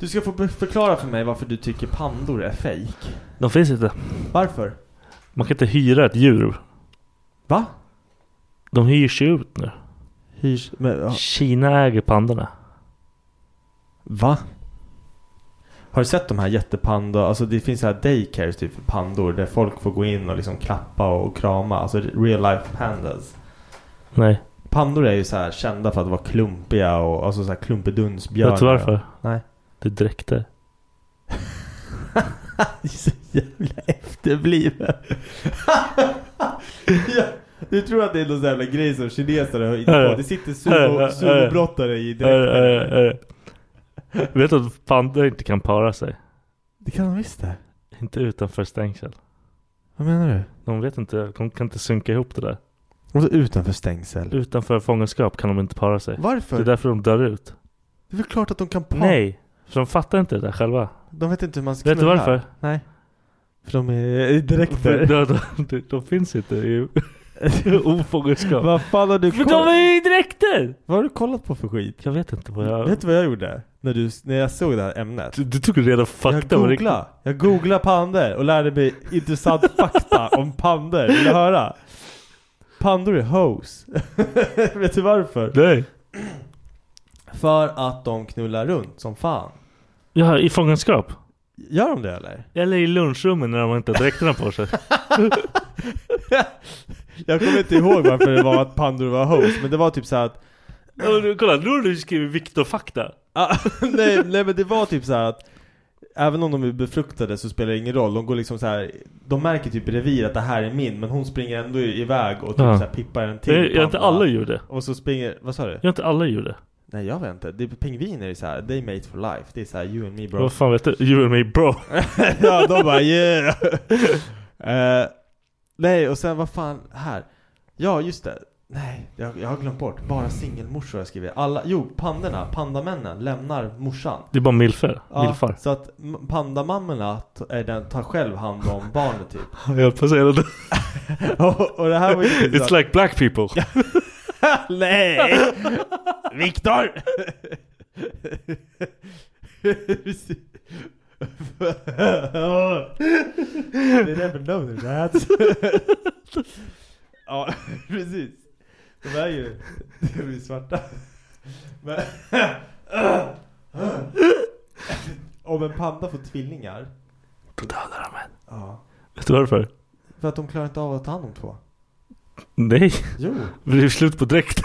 Du ska få be- förklara för mig varför du tycker pandor är fake.
De finns inte.
Varför?
Man kan inte hyra ett djur.
Va?
De hyrs ju ut nu.
Hyrs... Men, ja.
Kina äger pandorna.
Va? Har du sett de här jättepandor? Alltså det finns så här daycares typ för pandor där folk får gå in och liksom klappa och krama. Alltså real life pandas.
Nej,
Pandor är ju så här kända för att vara klumpiga och alltså så här klumpedunsbjörnar.
vet du varför?
Nej.
Det är dräkter.
Det är så jävla efterbliven. ja, du tror att det är någon sån jävla grej som kineser har hittat på. Det sitter sumo- sumobrottare i
Äh,
direkt.
äh, äh. Vet du att pandor inte kan para sig?
Det kan de visst det.
Inte utanför stängsel.
Vad menar du?
De vet inte, de kan inte synka ihop det där.
Och så utanför stängsel.
Utanför fångenskap kan de inte para sig. Det är
Varför?
därför de dör ut.
Det är väl klart att de kan pa-
Nej! För de fattar inte det där själva.
De vet inte hur man
Vet du
knullar.
varför?
Nej. För de är
För
direkter.
de, de, de finns inte i ofångenskap.
Vad fan har du
För
koll-
de är ju i dräkter!
Vad har du kollat på för skit?
Jag vet inte vad jag...
Vet du vad jag gjorde? När, du, när jag såg det här ämnet?
Du, du tog redan
Jag
fakta om riktigt.
googlade, jag googlade pandor och lärde mig intressant fakta om pandor. Vill du höra? Pandor är hoes. Vet du varför?
Nej.
För att de knullar runt som fan.
Ja, i fångenskap.
Gör de det eller?
Eller i lunchrummen när de inte har dräkterna på sig.
Jag kommer inte ihåg varför det var att pandor var hoes, men det var typ så här att
Ja, men du, kolla, nu har du skrivit Viktor-fakta.
Ah, nej, nej men det var typ så här att Även om de är befruktade så spelar det ingen roll, de går liksom så här. De märker typ i revir att det här är min, men hon springer ändå iväg och typ
Ja.
så här pippar en till
Jag, jag inte
panda.
alla gör det.
Och så springer, vad sa du?
Jag inte alla gör det.
Nej jag vet inte, det är, pingviner är så här, they mate for life, det är så här you and me bro
Vad fan vet du? You and me bro.
Ja de bara yeah! Eh, nej och sen vad fan, här Ja just det, nej jag, jag har glömt bort, bara singelmorsor har jag skrivit Alla, jo pandorna, pandamännen lämnar morsan
Det är bara milfer.
Ja,
Milfar.
Så att m- pandamammorna t- är den, tar själv hand om barnet typ
Jag höll på att säga det.
och, och det här var ju typ så att-
It's like black people.
Nej! Viktor! They never know their dads. ja, precis. De är ju de är ju svarta. Men om en panda får tvillingar.
Då dödar de en.
Ja.
Vet du varför?
För att de klarar inte av att ta hand om två.
Nej.
Jo.
Det är slut på dräkt.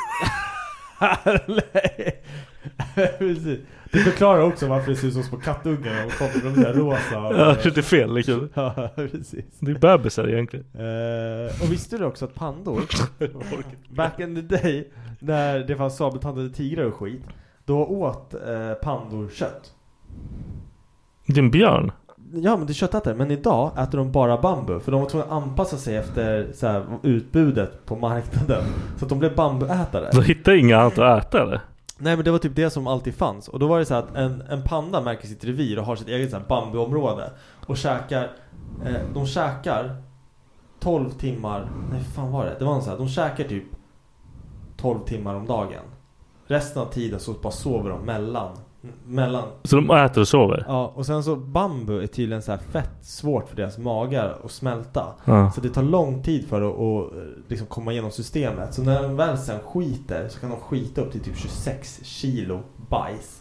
Nej. Precis. Det förklarar också varför det ser ut som små kattungar och kommer från där rosa och...
Ja, det är fel liksom.
Ja, precis.
Det är bebisar egentligen.
Eh, och visste du också att pandor, back in the day, när det fanns sabeltandade tigrar och skit, då åt eh, pandor kött.
Det är en björn.
Ja men det köttätare, men idag äter de bara bambu för de var tvungna att anpassa sig efter så här, utbudet på marknaden. Så att de blev bambuätare.
De hittar inga annat att äta eller?
Nej men det var typ det som alltid fanns och då var det så här att en, en panda märker sitt revir och har sitt eget så här bambuområde och käkar, eh, de käkar 12 timmar, nej hur fan var det? Det var en så här, de käkar typ 12 timmar om dagen. Resten av tiden så bara sover de mellan, mellan.
Så de äter och sover?
Ja och sen så bambu är tydligen så här fett svårt för deras magar att smälta.
Ja.
Så Alltså, det tar lång tid för att att, eh, liksom komma igenom systemet. Så när de väl sen skiter så kan de skita upp till typ 26 kilo bajs.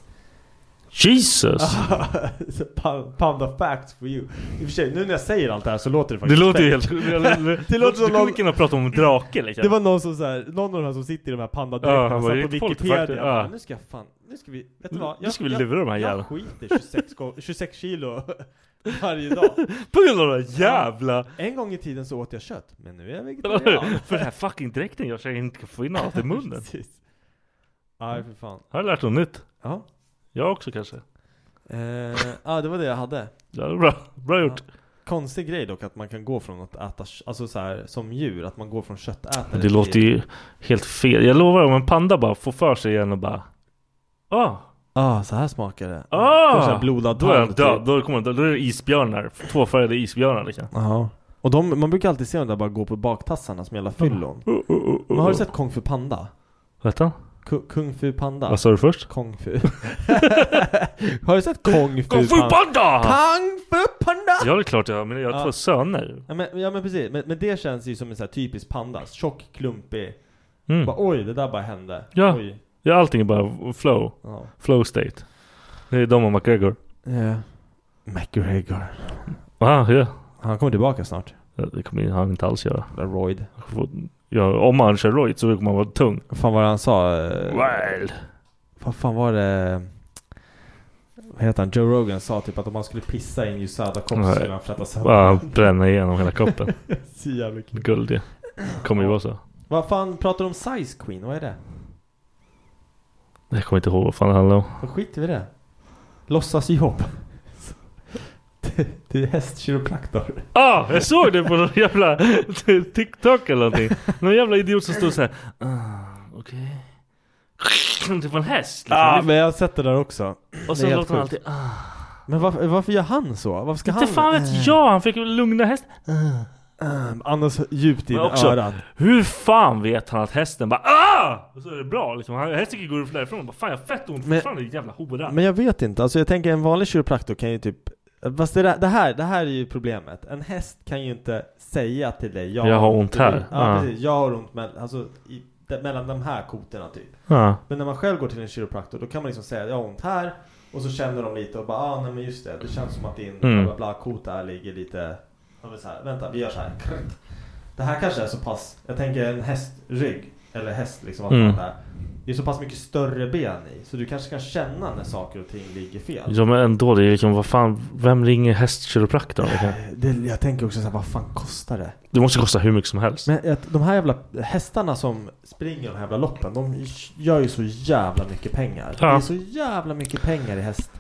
Jesus!
Ah, Så pa- Panda facts for you. I och för sig, nu när jag säger allt det här så låter det
Det
faktiskt
låter ju
fake.
helt...
Det låter som
Du kunde
någon-
lika gärna prata om en drake liksom.
Det var någon som så här, någon av de här som sitter i de här
Ja,
pandadräkterna
han
ja,
bara,
satt på
gick folk till
Wikipedia
fakta?
bara,
Ja.
Nu ska jag fan, nu ska vi, vet du vad?
Nu ska vi lura de här jävlarna."
Jag skiter 26, gång- 26 kilo varje dag.
På grund av den jävla...
En gång i tiden så åt jag kött, men nu är jag vegetarian.
För den här fucking dräkten gör så jag inte kan få in allt i munnen.
Precis. Aj för fan.
Har jag lärt något nytt?
Ja.
Jag också kanske.
Eh, ah, det var det jag hade.
Ja, det är bra. Bra gjort.
Konstig grej dock att man kan gå från att äta, kö- alltså så här, som djur, att man går från köttätare
Det låter ju helt fel. Jag lovar om en panda bara får för sig igen och bara... Ah!
Ah, så här smakar det.
Ah!
Först en blodad
Då är han
tand,
död.
typ.
Då, kommer, han- då är det isbjörnar. Tvåfärgade isbjörnar liksom.
Ja. Och de, man brukar alltid se dem där bara gå på baktassarna som jävla fyllon. Men
Oh.
har du sett Kung Fu Panda?
Vet han?
Ku- Kung Fu Panda?
Vad sa du först?
Kung Fu. har du sett Kung Fu
Kung Fu
Panda?
Panda!
Kung Fu Panda!
Ja det är klart jag har, men jag har två
Ja.
söner.
Ja men, ja, men precis, men, men det känns ju som en så här typisk panda. Tjock, klumpig.
Mm.
Bara, oj, det där bara hände.
Ja.
Oj.
Ja, allting är bara flow.
Ja.
Flow state. Det är de och McGregor.
Yeah. McGregor.
Ah, ja.
Han kommer tillbaka snart.
Ja, Det kommer han inte alls göra.
Royd.
Ja, om han kör Royd så kommer han vara tung.
Vad fan var det han sa? Eh,
Well.
Vad fan var det? Vad heter han? Joe Rogan sa typ att om han skulle pissa i en Usada kopp så
Nej.
skulle han frätta sönder.
Bara bränna igenom hela kroppen.
Så jävla kul.
Guld ja. Kommer ju vara så.
Vad fan pratar du om Size Queen? Vad är det?
Jag kommer inte ihåg vad fan det handlar om.
Då skiter vi i det. Låtsas jobb. Det, det är hästkiropraktor.
Ah! Jag såg det på någon jävla TikTok eller någonting. Någon jävla idiot som stod såhär. Ah, okej. Typ en häst liksom. Ah,
Ah, men jag har sett det där också.
Och
Det
sen
är helt
låter han
sjukt.
alltid ah.
Men varför, varför gör han så? Varför ska han...
Inte fan vet jag, han fick väl lugna hästen.
Äh, Andas djupt in i
Men också,
örat.
hur fan vet han att hästen bara ah! Och så är det bra liksom. Han- Hästen går därifrån och bara fan jag har fett ont
Men-
fortfarande din jävla hora.
Men jag vet inte, alltså jag tänker en vanlig kiropraktor kan ju typ Fast det, där- det, här, det här är ju problemet, en häst kan ju inte säga till dig
Jag har ont här."
Ja,
Ja.
precis, jag har ont mellan, alltså, i, de- mellan de här koterna typ
Ja.
Men när man själv går till en kiropraktor då kan man liksom säga jag har ont här Och så känner de lite och bara ah nej men just det, det känns som att din
Mm.
bla bla bla kot där ligger lite Ja, men så här, Vänta vi gör så här Det här kanske är så pass, jag tänker en hästrygg Eller häst liksom, vad fan
Mm.
det är det är så pass mycket större ben i, så du kanske kan känna när saker och ting ligger fel.
Ja men ändå, det är liksom vad fan, vem ringer hästkiropraktorn? liksom?
Eh, Det, jag tänker också såhär, vad fan kostar det?
Det måste kosta hur mycket som helst.
Men att de här jävla hästarna som springer de här jävla loppen, de gör ju så jävla mycket pengar.
Ja.
Det är så jävla mycket pengar i häst.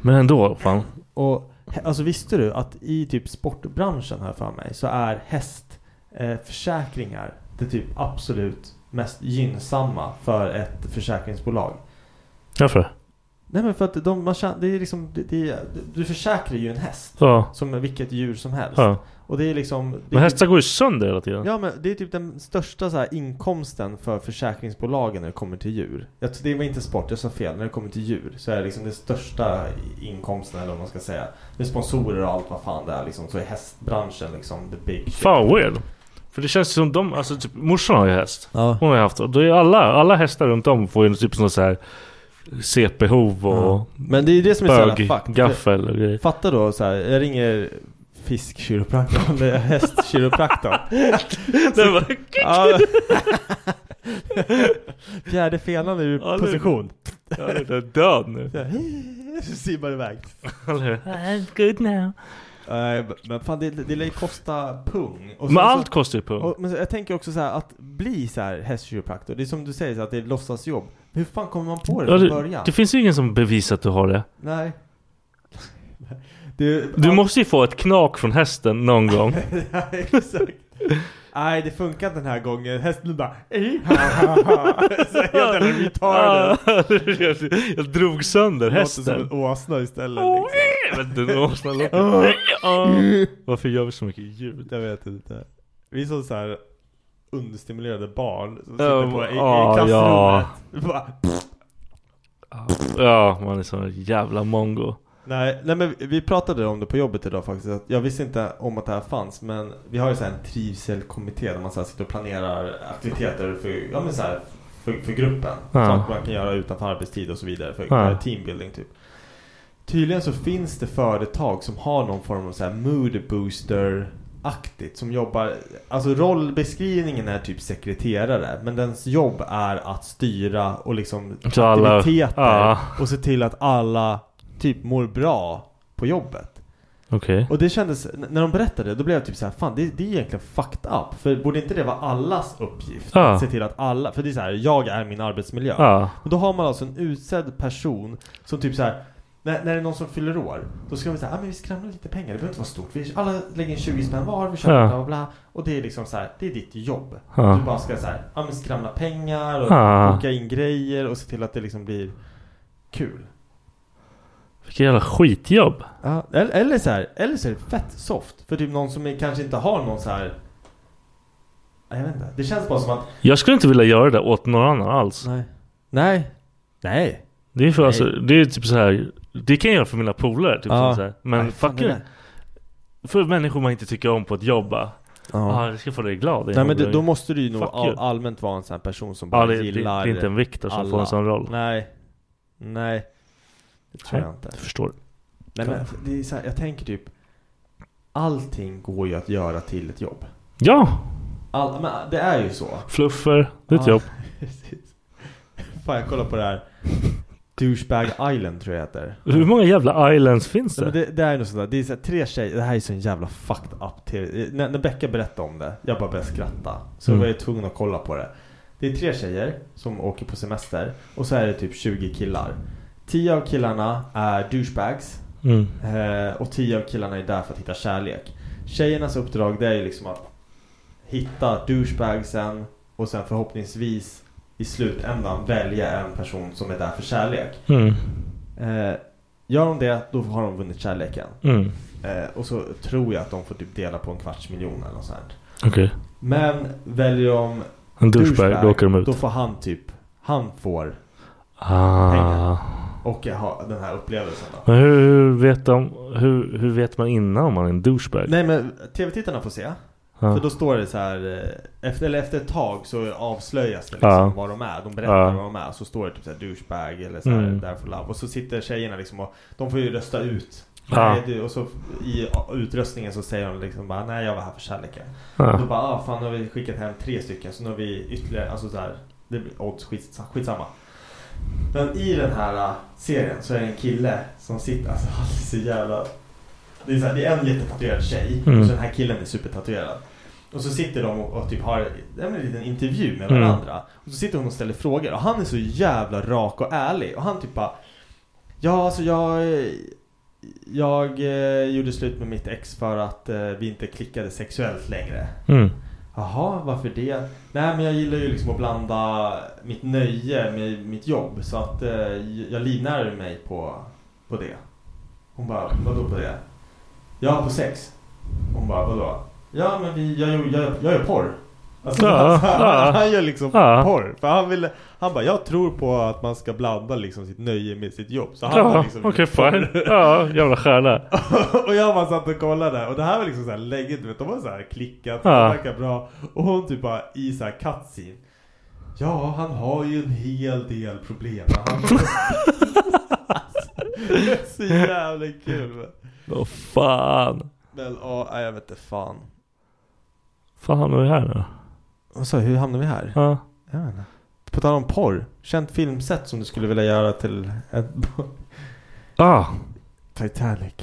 Men ändå, fan.
Och he- alltså visste du att i typ sportbranschen här för mig så är hästförsäkringar eh, försäkringar det typ absolut mest gynnsamma för ett försäkringsbolag.
Varför?
Nej men för att de, man, tjä- det är liksom, det, det, du försäkrar ju en häst.
Ja.
Som vilket djur som helst.
Ja.
Och det är liksom... Det
Men
är
hästar går ju sönder hela tiden.
Ja men det är typ den största så här, inkomsten för försäkringsbolagen när det kommer till djur. Jag, det var inte sport, jag sa fel. När det kommer till djur så är det liksom den största inkomsten eller vad man ska säga. Med sponsorer och allt vad fan det är liksom. Så är hästbranschen liksom the big shit.
Fan vad weird. För det känns som de, alltså typ morsan har ju häst.
Ja.
Hon har ju haft, och då är alla, alla hästar runt om får ju typ sådana så här CP-hov och
Men det är det som är så jävla
bög,
fucked.
gaffel och grejer.
Fatta då så här, jag ringer fiskkiropraktorn, eller hästkiropraktorn.
Den bara,
Ja. Fjärde fenan är ur
Ja, det-
position.
jag är redan död nu.
Så här, Simmar iväg.
Eller hur? I'm good now.
Nej, men fan det, det lär ju kosta pung. Och sen
Men allt
så,
kostar ju pung.
och, Men jag tänker också så här att bli så här hästkiropraktor, det är som du säger så här, att det är ett låtsasjobb. Hur fan kommer man på det
Ja,
från
det,
början?
det finns ju ingen som bevisar att du har det.
Nej. Du,
Du
ja,
måste ju få ett knak från hästen någon gång.
ja, exakt. Nej, det funkar inte den här gången. Hästen bara "Ej, ha, ha, ha." Så helt jävla retarded.
Ah, jag, jag drog sönder
Låter som en
hästen.
liksom. åsna istället.
Oh,
Liksom.
Jag vet inte, åsnan låter- Ah. Varför gör vi så mycket ljud?
Jag vet inte. Vi är som så här understimulerade barn som sitter
Ja,
på, i, i
ja,
klassrummet.
ja.
Bara,
Ja, man är sån jävla mongo.
Nej, nej men vi pratade om det på jobbet idag faktiskt. Att jag visste inte om att det här fanns men vi har ju så här en trivselkommitté där man så här sitter och planerar aktiviteter för, ja, men så här, för, för gruppen.
Ja.
Sånt man kan göra utanför arbetstid och så vidare. För
Ja.
teambuilding typ. Tydligen så finns det företag som har någon form av så här mood booster aktigt som jobbar, alltså rollbeskrivningen är typ sekreterare men dens jobb är att styra och liksom
Så alla-
aktiviteter
ja.
och se till att alla typ mår bra på jobbet.
Okej.
Och det kändes, n- när de berättade det, då blev jag typ så här, fan det, det är egentligen fucked up. För borde inte det vara allas uppgift?
Ja.
Att se till att alla, för det är så här, jag är min arbetsmiljö.
Ja.
Och då har man alltså en utsedd person som typ så här. När, när det är någon som fyller år, då ska vi säga ah, men vi skramlar lite pengar, det behöver inte vara stort. Vi, alla lägger in 20 spänn var, vi köper
Ja.
bla bla bla. Och det är liksom så här, det är ditt jobb.
Ja.
Du bara ska så här, ah, men skramla pengar och
Ja.
boka in grejer och se till att det liksom blir kul.
Vilket jävla skitjobb.
Ja, eller, eller, så här, eller så är det fett soft. För typ någon som är, kanske inte har någon så här. Nej, Jag vet inte. Det känns bara som att...
Jag skulle inte vilja göra det åt någon annan alls.
Nej. Nej. Nej.
Det är för
Nej.
alltså, det är typ så här. Det kan jag göra för mina polare. Typ
Ja.
så här. Men
Nej, fan,
fucking,
det där.
för människor man inte tycker om på ett jobb bara.
Ja.
Ja, det ska få dig glad.
Nej men det, då måste du ju nog
Fuck
all,
you.
allmänt vara en sån här person som bara
Ja, det, det, det
gillar
är inte en Viktor som får en sån roll.
Nej. Nej. Det tror
Nej.
jag inte.
Jag förstår.
Nej men det är så här, jag tänker typ Allting går ju att göra till ett jobb.
Ja!
All, men det är ju så.
Fluffer, det är ett
Ja.
jobb.
Precis. Fan jag kollar på det här Douchebag Island tror jag heter
Hur många jävla islands finns
Nej, men
det?
det, det är nog sådär, det är såhär, tre tjejer, det här är så en jävla fucked up till när, när Becka berättade om det, jag bara började skratta Så
Mm.
var jag tvungen att kolla på det Det är tre tjejer som åker på semester och så är det typ 20 killar 10 av killarna är douchebags
Mm.
Eh, och tio av killarna är där för att hitta kärlek. Tjejernas uppdrag det är ju liksom att hitta douchebagsen och sen förhoppningsvis i slutändan välja en person som är där för kärlek.
Mm.
Eh, Gör de det, då har de vunnit kärleken.
Mm.
Eh, och så tror jag att de får typ dela på en kvarts miljon eller något sånt. här.
Okej.
Men väljer de
En douchebag, då åker de ut.
Då får han typ, han får
Ah.
och jag har den här upplevelsen då.
Men hur, hur, vet de, hur, hur vet man innan om man är en douchebag? Ah.
Nej men tv-tittarna får se.
Ja.
För då står det så här, eh, efter, eller efter ett tag så avslöjas det liksom
Ja.
vad de är. De berättar
Ja.
vad de är. Så står det typ så här douchebag eller så här,
Mm.
där for love. Och så sitter tjejerna liksom och de får ju rösta ut.
Ja.
Nej, du, och så i utröstningen så säger de liksom bara nej jag var här för kärleken.
Ja.
Och Då bara ah, fan nu har vi skickat hem tre stycken så nu har vi ytterligare, alltså så här, det blir odds skits, skitsamma. Men i den här eh, serien så är det en kille som sitter, alltså han är så jävla det är, så här, det är en jättetatuerad tjej
Mm.
och så den här killen är supertatuerad. Och så sitter de och, och typ har ja, men en liten intervju med
Mm.
varandra. Och så sitter hon och ställer frågor och han är så jävla rak och ärlig. Och han typ bara Ja alltså jag eh, Jag eh, gjorde slut med mitt ex för att eh, vi inte klickade sexuellt längre.
Mm.
Jaha, varför det? Nej men jag gillar ju liksom att blanda mitt nöje med mitt jobb så att eh, jag livnär mig på, på det. Hon bara, vadå på det? Ja, på sex. Hon bara, vadå? Ja men vi, jag, jag, jag, jag gör porr. Alltså,
Ja,
alltså,
ja.
han, han gör liksom
Ja.
porr. För han, vill, han bara, jag tror på att man ska blanda liksom sitt nöje med sitt jobb. Så han har
Ja,
liksom
okej
gjort porr.
fine. Ja, jävla stjärna.
och jag bara satt och kollade och det här var liksom såhär läget, du vet de var såhär klickat,
Ja.
det verkar bra Och hon typ bara i såhär cutscene Ja han har ju en hel del problem men han Det är Så jävla kul men.
Åh fan.
Men ja, nej, jag vet inte fan
Fan hamnar vi här nu
Vad sa hur hamnar vi här?
Ja.
Jag vet inte. På tal om porr, känt filmsätt som du skulle vilja göra till ett
Ah.
Titanic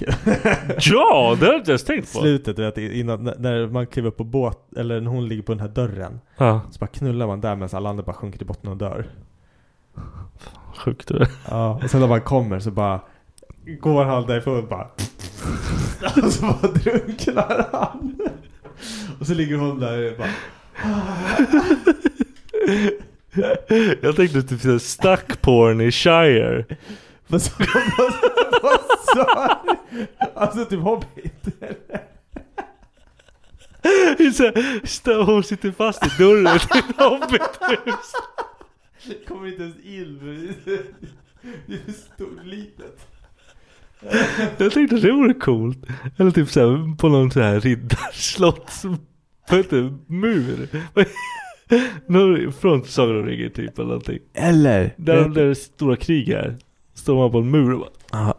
Ja, det har jag inte ens tänkt på.
Slutet, du vet, innan, när- när man kliver upp på båt, eller när hon ligger på den här dörren
Ja.
Så bara knullar man där medan alla andra bara sjunker till botten och dör
Sjukt du.
Ja, och sen när man kommer så bara Går han därifrån och bara Och så bara drunknar han Och så ligger hon där och bara
Jag tänkte typ såhär stuck porn i Shire.
Vad sa Vad sa du? Alltså typ Hobbit
Det är så här, stå- Hon sitter fast i dörren till ett hobbithus.
Kommer inte ens in för det är- Det är för stort litet
Jag tänkte det vore coolt. Eller typ såhär på någon såhär riddarslotts... Vad heter det? Mur? Någon- Från Sagan om ringen typ eller någonting.
Eller
Där där det stora krig är. Står man på en mur och bara...
Ja.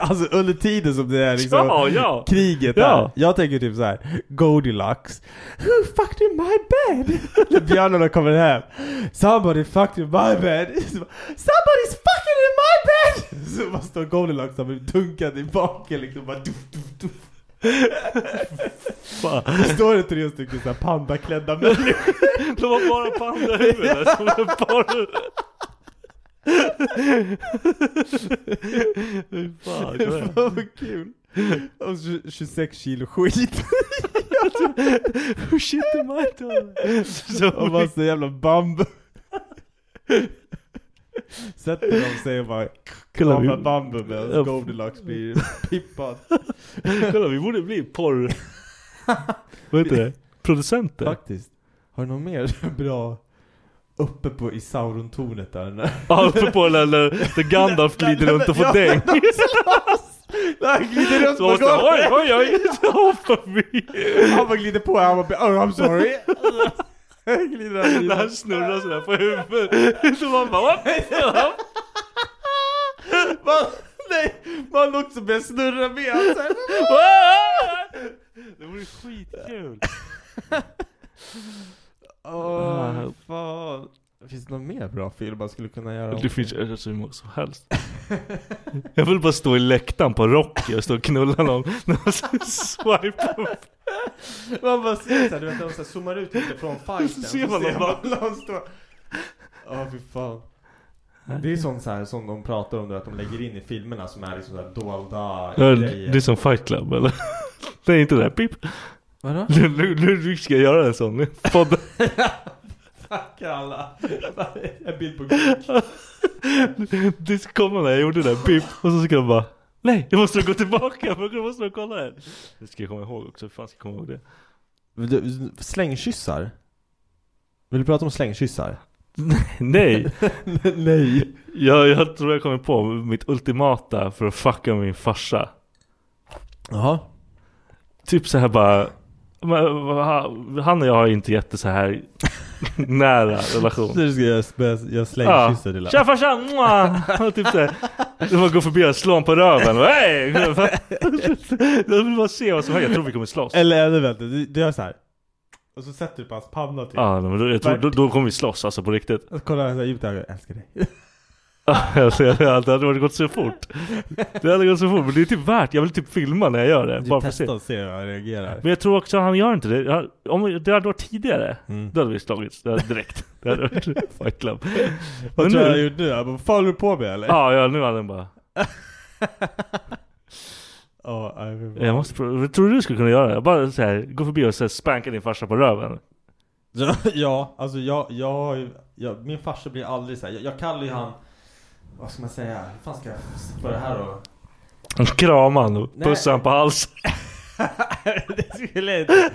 Alltså under tiden som det är liksom
Ja, ja.
kriget
Ja.
där. Jag tänker typ så här: Goldilocks Who fucked in my bed? När björnarna kommer hem Somebody fucked in my bed Så bara, Somebody's fucking in my bed! Så bara står Goldilocks där med dunkad i baken liksom bara duff, duff, duff.
Fan.
Det Står det tre stycken såhär pandaklädda människor
De har bara pandahuvuden som en porr. Fy fan, kom igen.
Fan vad kul! Och tj- 26 kilo skit
Oh shit, det är
Och
Så
massa jävla bambu Sätter de sig och bara
Kolla,
knaprar
vi,
bambu medan
Ja.
Goldilocks blir pippad
kolla, vi borde bli porr... Vad heter det? Producenter?
Faktiskt Har du något mer bra uppe på i Saurontornet där? När,
Ja, på den där- där där Gandalf glider runt och får däng.
när han glider runt
Så måste jag, oj, oj, oj, så hoppar vi.
Han bara glider på han bara oh I'm sorry Glider han
När
vidare.
han snurrar sådär på huvudet. Så man bara, hopp.
Man, nej, man också börjar snurra med han så här.
Det vore skitkul. Ah,
Åh, fan Finns det någon mer bra film man skulle kunna göra? om-
Det finns ju så många som helst. Jag vill bara stå i läktaren på Rocky och stå och knulla någon. När man så swipar upp.
Man bara ser såhär, du vet när de så här zoomar ut lite från fighten
Så ser man dem bara.
någon stå Ja fy fan Det är sånt så här som de pratar om du att de lägger in i filmerna som är liksom såhär dolda
Ja,
grejer
Det är som Fight Club eller? Det är inte det där, pip.
Vadå?
Nu, nu, nu ska jag göra en sån podd.
Fuck alla En bild på Gud
Det kom när jag gjorde det där, pip, och så ska jag bara Nej, jag måste gå tillbaka för jag måste kolla här. Det ska jag komma ihåg också, hur fan ska jag komma ihåg det?
Du- Slängkyssar? Vill du prata om slängkyssar?
Nej!
Nej!
Jag, jag tror jag kommer på mitt ultimata för att fucka med min farsa
Jaha
Typ så här bara men, va- Han och jag har ju inte jätte så här nära relation
Så du ska jag, spä- jag slängkyssa till
Tja farsan! mua! Och Typ såhär Man går förbi och slår honom på röven och, "Hej!" Jag vill bara se vad som händer, jag tror vi kommer slåss
Eller ännu vänta, du, du gör så här. Och så sätter du på hans panna typ
Ja, men då, jag tror, då, då kommer vi slåss alltså på riktigt
Och så kollar han såhär djupt i ögonen, jag älskar dig
alltså, jag- Det hade varit gått så fort Det hade gått så fort, men det är typ värt Jag vill typ filma när jag gör det, bara för att se
Testa och se hur han reagerar
Men jag tror också han gör inte det. Han- Om det hade varit tidigare,
Mm.
då hade vi slagits det hade direkt. Det hade varit fight club.
Vad
Men
tror du
nu-
han gjorde nu? Han bara, fan håller du på med eller?
Ja, ja, nu hade han bara...
Ja, nej, men vad-
Jag måste prova. Jag tror du skulle kunna göra det? Jag bara så här, gå förbi och så här, spanka din farsa på röven.
Ja, ja, alltså jag, jag, har ju- jag min farsa blir aldrig såhär, jag, jag kallar ju han, vad ska man säga, hur fan ska jag börja här och
Krama han och
Nej.
pussa han på halsen.
det skulle jag inte,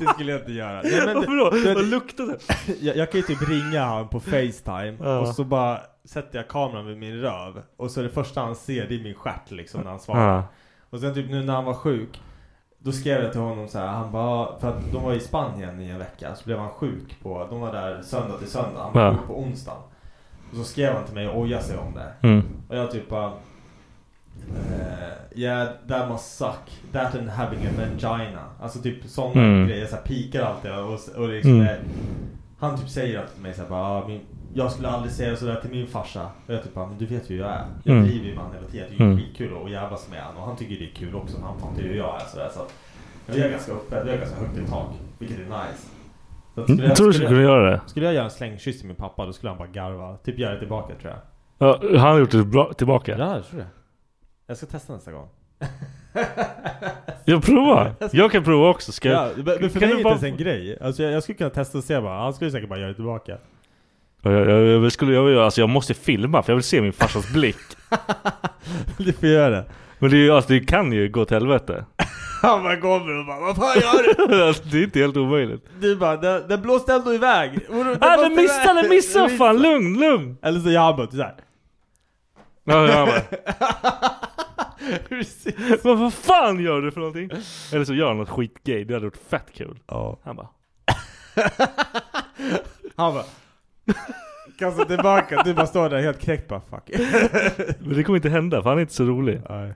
det skulle jag inte göra. Nej, men,
Varför då?
du
Vad
vet,
luktar det?
jag, jag kan ju typ ringa han på Facetime
Ja.
och så bara sätter jag kameran vid min röv och så är det första han ser det är min stjärt liksom när han svarar.
Ja.
Och sen typ nu när han var sjuk då skrev jag till honom så här, han bara, för att de var i Spanien i en vecka så blev han sjuk på, de var där söndag till söndag, han var
Ja.
sjuk på onsdagen. Och så skrev han till mig och ojade sig om det.
Mm.
Och jag typ bara eh, Yeah, that must suck. That and having a vagina. Alltså typ sådana
Mm.
grejer. Så här pikar alltid och, och liksom,
Mm.
eh, Han typ säger alltid till mig såhär bara ah, min, Jag skulle aldrig säga sådär till min farsa. Och jag typ bara, men du vet ju hur jag är. Jag
Mm.
driver ju med han hela tiden. Jag tycker det är
Mm.
skitkul att jävlas med han. Och han tycker det är kul också. för Han fattar ju hur jag är sådär. Så att vi är ganska uppe. Vi har ganska högt i tak. Vilket är nice. Så att skulle
Mm,
jag-
Tror du
skulle
skulle kunna
jag-
göra det?
Skulle jag göra en slängkyss till min pappa då skulle han bara garva. Typ göra det tillbaka tror jag.
Ja, han har gjort det bra, tillbaka.
Ja, jag tror det. Jag ska testa nästa gång.
Jag provar. Jag kan prova också. Ska
Ja,
jag...
men men för
kan
mig är
du
det
bara-
inte ens en grej. Alltså jag, jag skulle kunna testa och se bara. Han skulle säkert bara göra det tillbaka.
Jag, jag, jag, skulle, jag, alltså, jag måste filma för jag vill se min farsas blick.
du får göra det.
Men det, är ju- alltså, det kan ju gå till helvete.
Han bara kommer och bara Vad fan gör du?
alltså, det är inte helt omöjligt.
Du bara Den, den blåste ändå iväg. Och då-
Ah,
blåste
den missade,
iväg.
den missade!
Den
Fan, lugn, lugn!
Eller så gör han bara såhär.
Ja, ja, bara,
Precis.
men vad fan gör du för någonting? Eller så gör han något skitgay, det hade varit fett kul.
Ja.
Han bara,
Han bara. Kastar tillbaka. Du bara står där helt knäckt bara fuck.
men det kommer inte hända för han är inte så rolig.
Nej.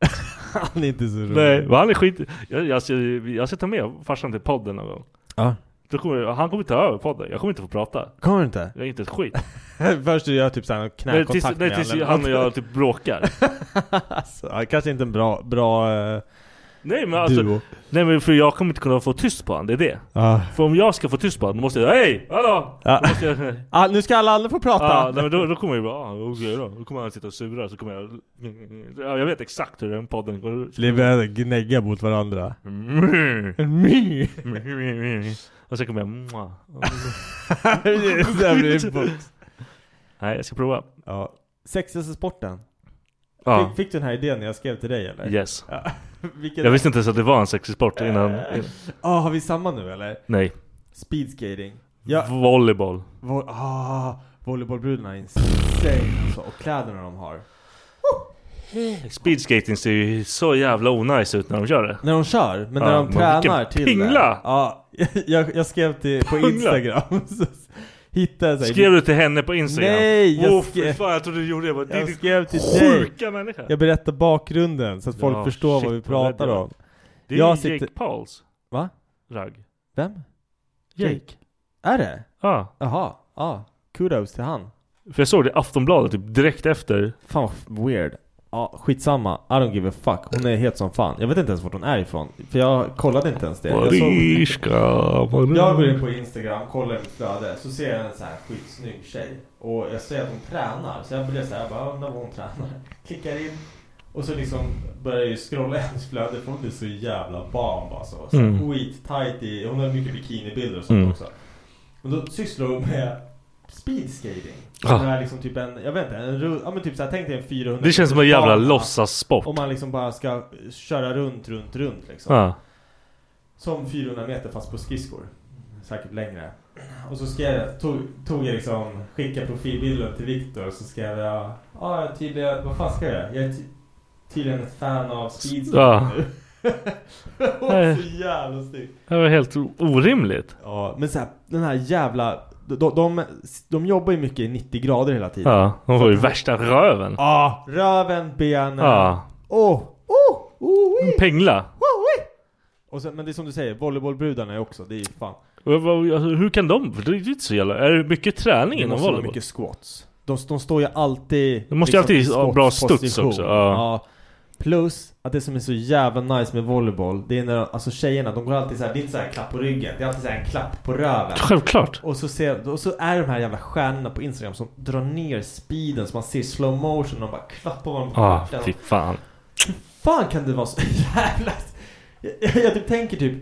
Han är inte så rolig.
Nej, men han är skit... Jag, jag, ska, jag ska ta med farsan till podden någon gång.
Ja.
Då kommer, han kommer ta över podden, jag kommer inte få prata.
Kommer du inte?
Jag är inte ett skit.
Först du gör typ såhär
Nej, tills,
knäkontakt
nej, tills han och jag typ bråkar.
Alltså, ja, kanske inte en bra, bra eh,
Nej men alltså,
duo.
nej men för jag kommer inte kunna få tyst på honom, det är det.
Ah.
För om jag ska få tyst på honom, då måste jag Hej! Hallå!
Ja.
Då måste jag,
Ah, nu ska alla andra få prata!
Ja, Ah, nej, men då, då kommer jag ju bara, ah, okej då. Då kommer han sitta och sura så kommer jag... Ja, jag vet exakt hur den podden går.
Det börjar gnägga mot varandra.
Och sen kommer jag... "Mua."
Det där blir en box.
Nej, jag ska prova.
ja. Sexigaste sporten.
Ja,
Fick, fick du den här idén när jag skrev till dig eller?
yes.
Ja. Vilken...
Jag visste inte ens att det var en sexig sport innan.
Ah, har vi samma nu eller?
Nej.
Speedskating. Ja.
Volleyboll.
Vo- ah, volleybollbrudarna är insane alltså. Och kläderna de har.
Speedskating ser ju så jävla onajs ut när de gör det.
När de kör, men när
Ja,
de
men
tränar
vilken
till
pingla!
det. Ja, jag, jag skrev till, på
Pingla.
Instagram. så hittade jag så här-
Skrev du till henne på Instagram?
Nej, jag
jag
skrev-
skrev... fan, jag trodde du gjorde det. Jag bara,
Jag
"Din
skrev till dig.
Sjuka människa!
Jag berättar bakgrunden så att folk
Ja,
förstår
shit,
vad vi
vad
pratar
rädd jag
om.
det är
jag
ju Jake
sitter-
Pauls
Va?
ragg.
Vem?
Jake?
Är det?
Ja.
Jaha, ja. Kudos till han.
Ah, För jag såg det i Aftonbladet typ direkt efter.
Fan vad weird. Ja, skitsamma. I don't give a fuck. Hon är helt som fan. Jag vet inte ens vart hon är ifrån. För jag kollade inte ens det. Jag, såg... jag går in på Instagram, kollar i mitt flöde. Så ser jag en så här skitsnygg tjej. Och jag ser att hon tränar. Så jag blir så här, jag bara undrar vad hon tränar. Klickar in. Och så liksom börjar jag ju scrolla i hennes flöde. För hon är så jävla bomb alltså. Så
Mm.
Skittight i... Hon har mycket bikinibilder och sånt
Mm.
också. Men då sysslar hon med speedskating.
Ja.
När liksom typ en, jag vet inte, en, ru- ja men typ såhär, tänk dig en 400
Ah. Det känns som en jävla
bana.
låtsassport.
Om man liksom bara ska köra runt, runt, runt liksom.
Ja.
Som 400 meter fast på skridskor. Säkert längre. Och så skrev jag, tog, tog jag liksom, skickade profilbilden till Viktor så skrev jag, ja jag är tydligen, vad fan ska jag göra? Jag är ty- tydligen ett fan av speedskating
Ja.
nu.
Nej.
så jävla snyggt.
Det var helt o- orimligt.
Ja, men så här, den här jävla... De, de, de, de jobbar ju mycket i 90 grader hela tiden.
Ja, Ah, hon var ju värsta röven.
Ja, röven, benen.
Ja.
Åh, åh, oh,
En pengla.
Och sen, men det är som du säger, volleybollbrudarna är också, det är ju fan.
Och jag bara, alltså, Hur kan de? För det är ju inte så jävla... Är det mycket träning
Det
inom
måste vara
volleyboll?
mycket squats. De, de står ju alltid... liksom
De måste ju alltid ha bra studs
squatsposition.
också, ja.
Plus att det som är så jävla nice med volleyboll, det är när alltså tjejerna, de går alltid så här, det är inte så här en klapp på ryggen, det är alltid så här en klapp på röven.
Självklart.
Och så, ser, och så är de här jävla stjärnorna på Instagram som drar ner speeden så man ser slow motion och de bara klappar varandra på
Ja,
stjärten.
Ah, fy fan.
fan kan det vara så jävla... Jag, jag, jag typ tänker typ...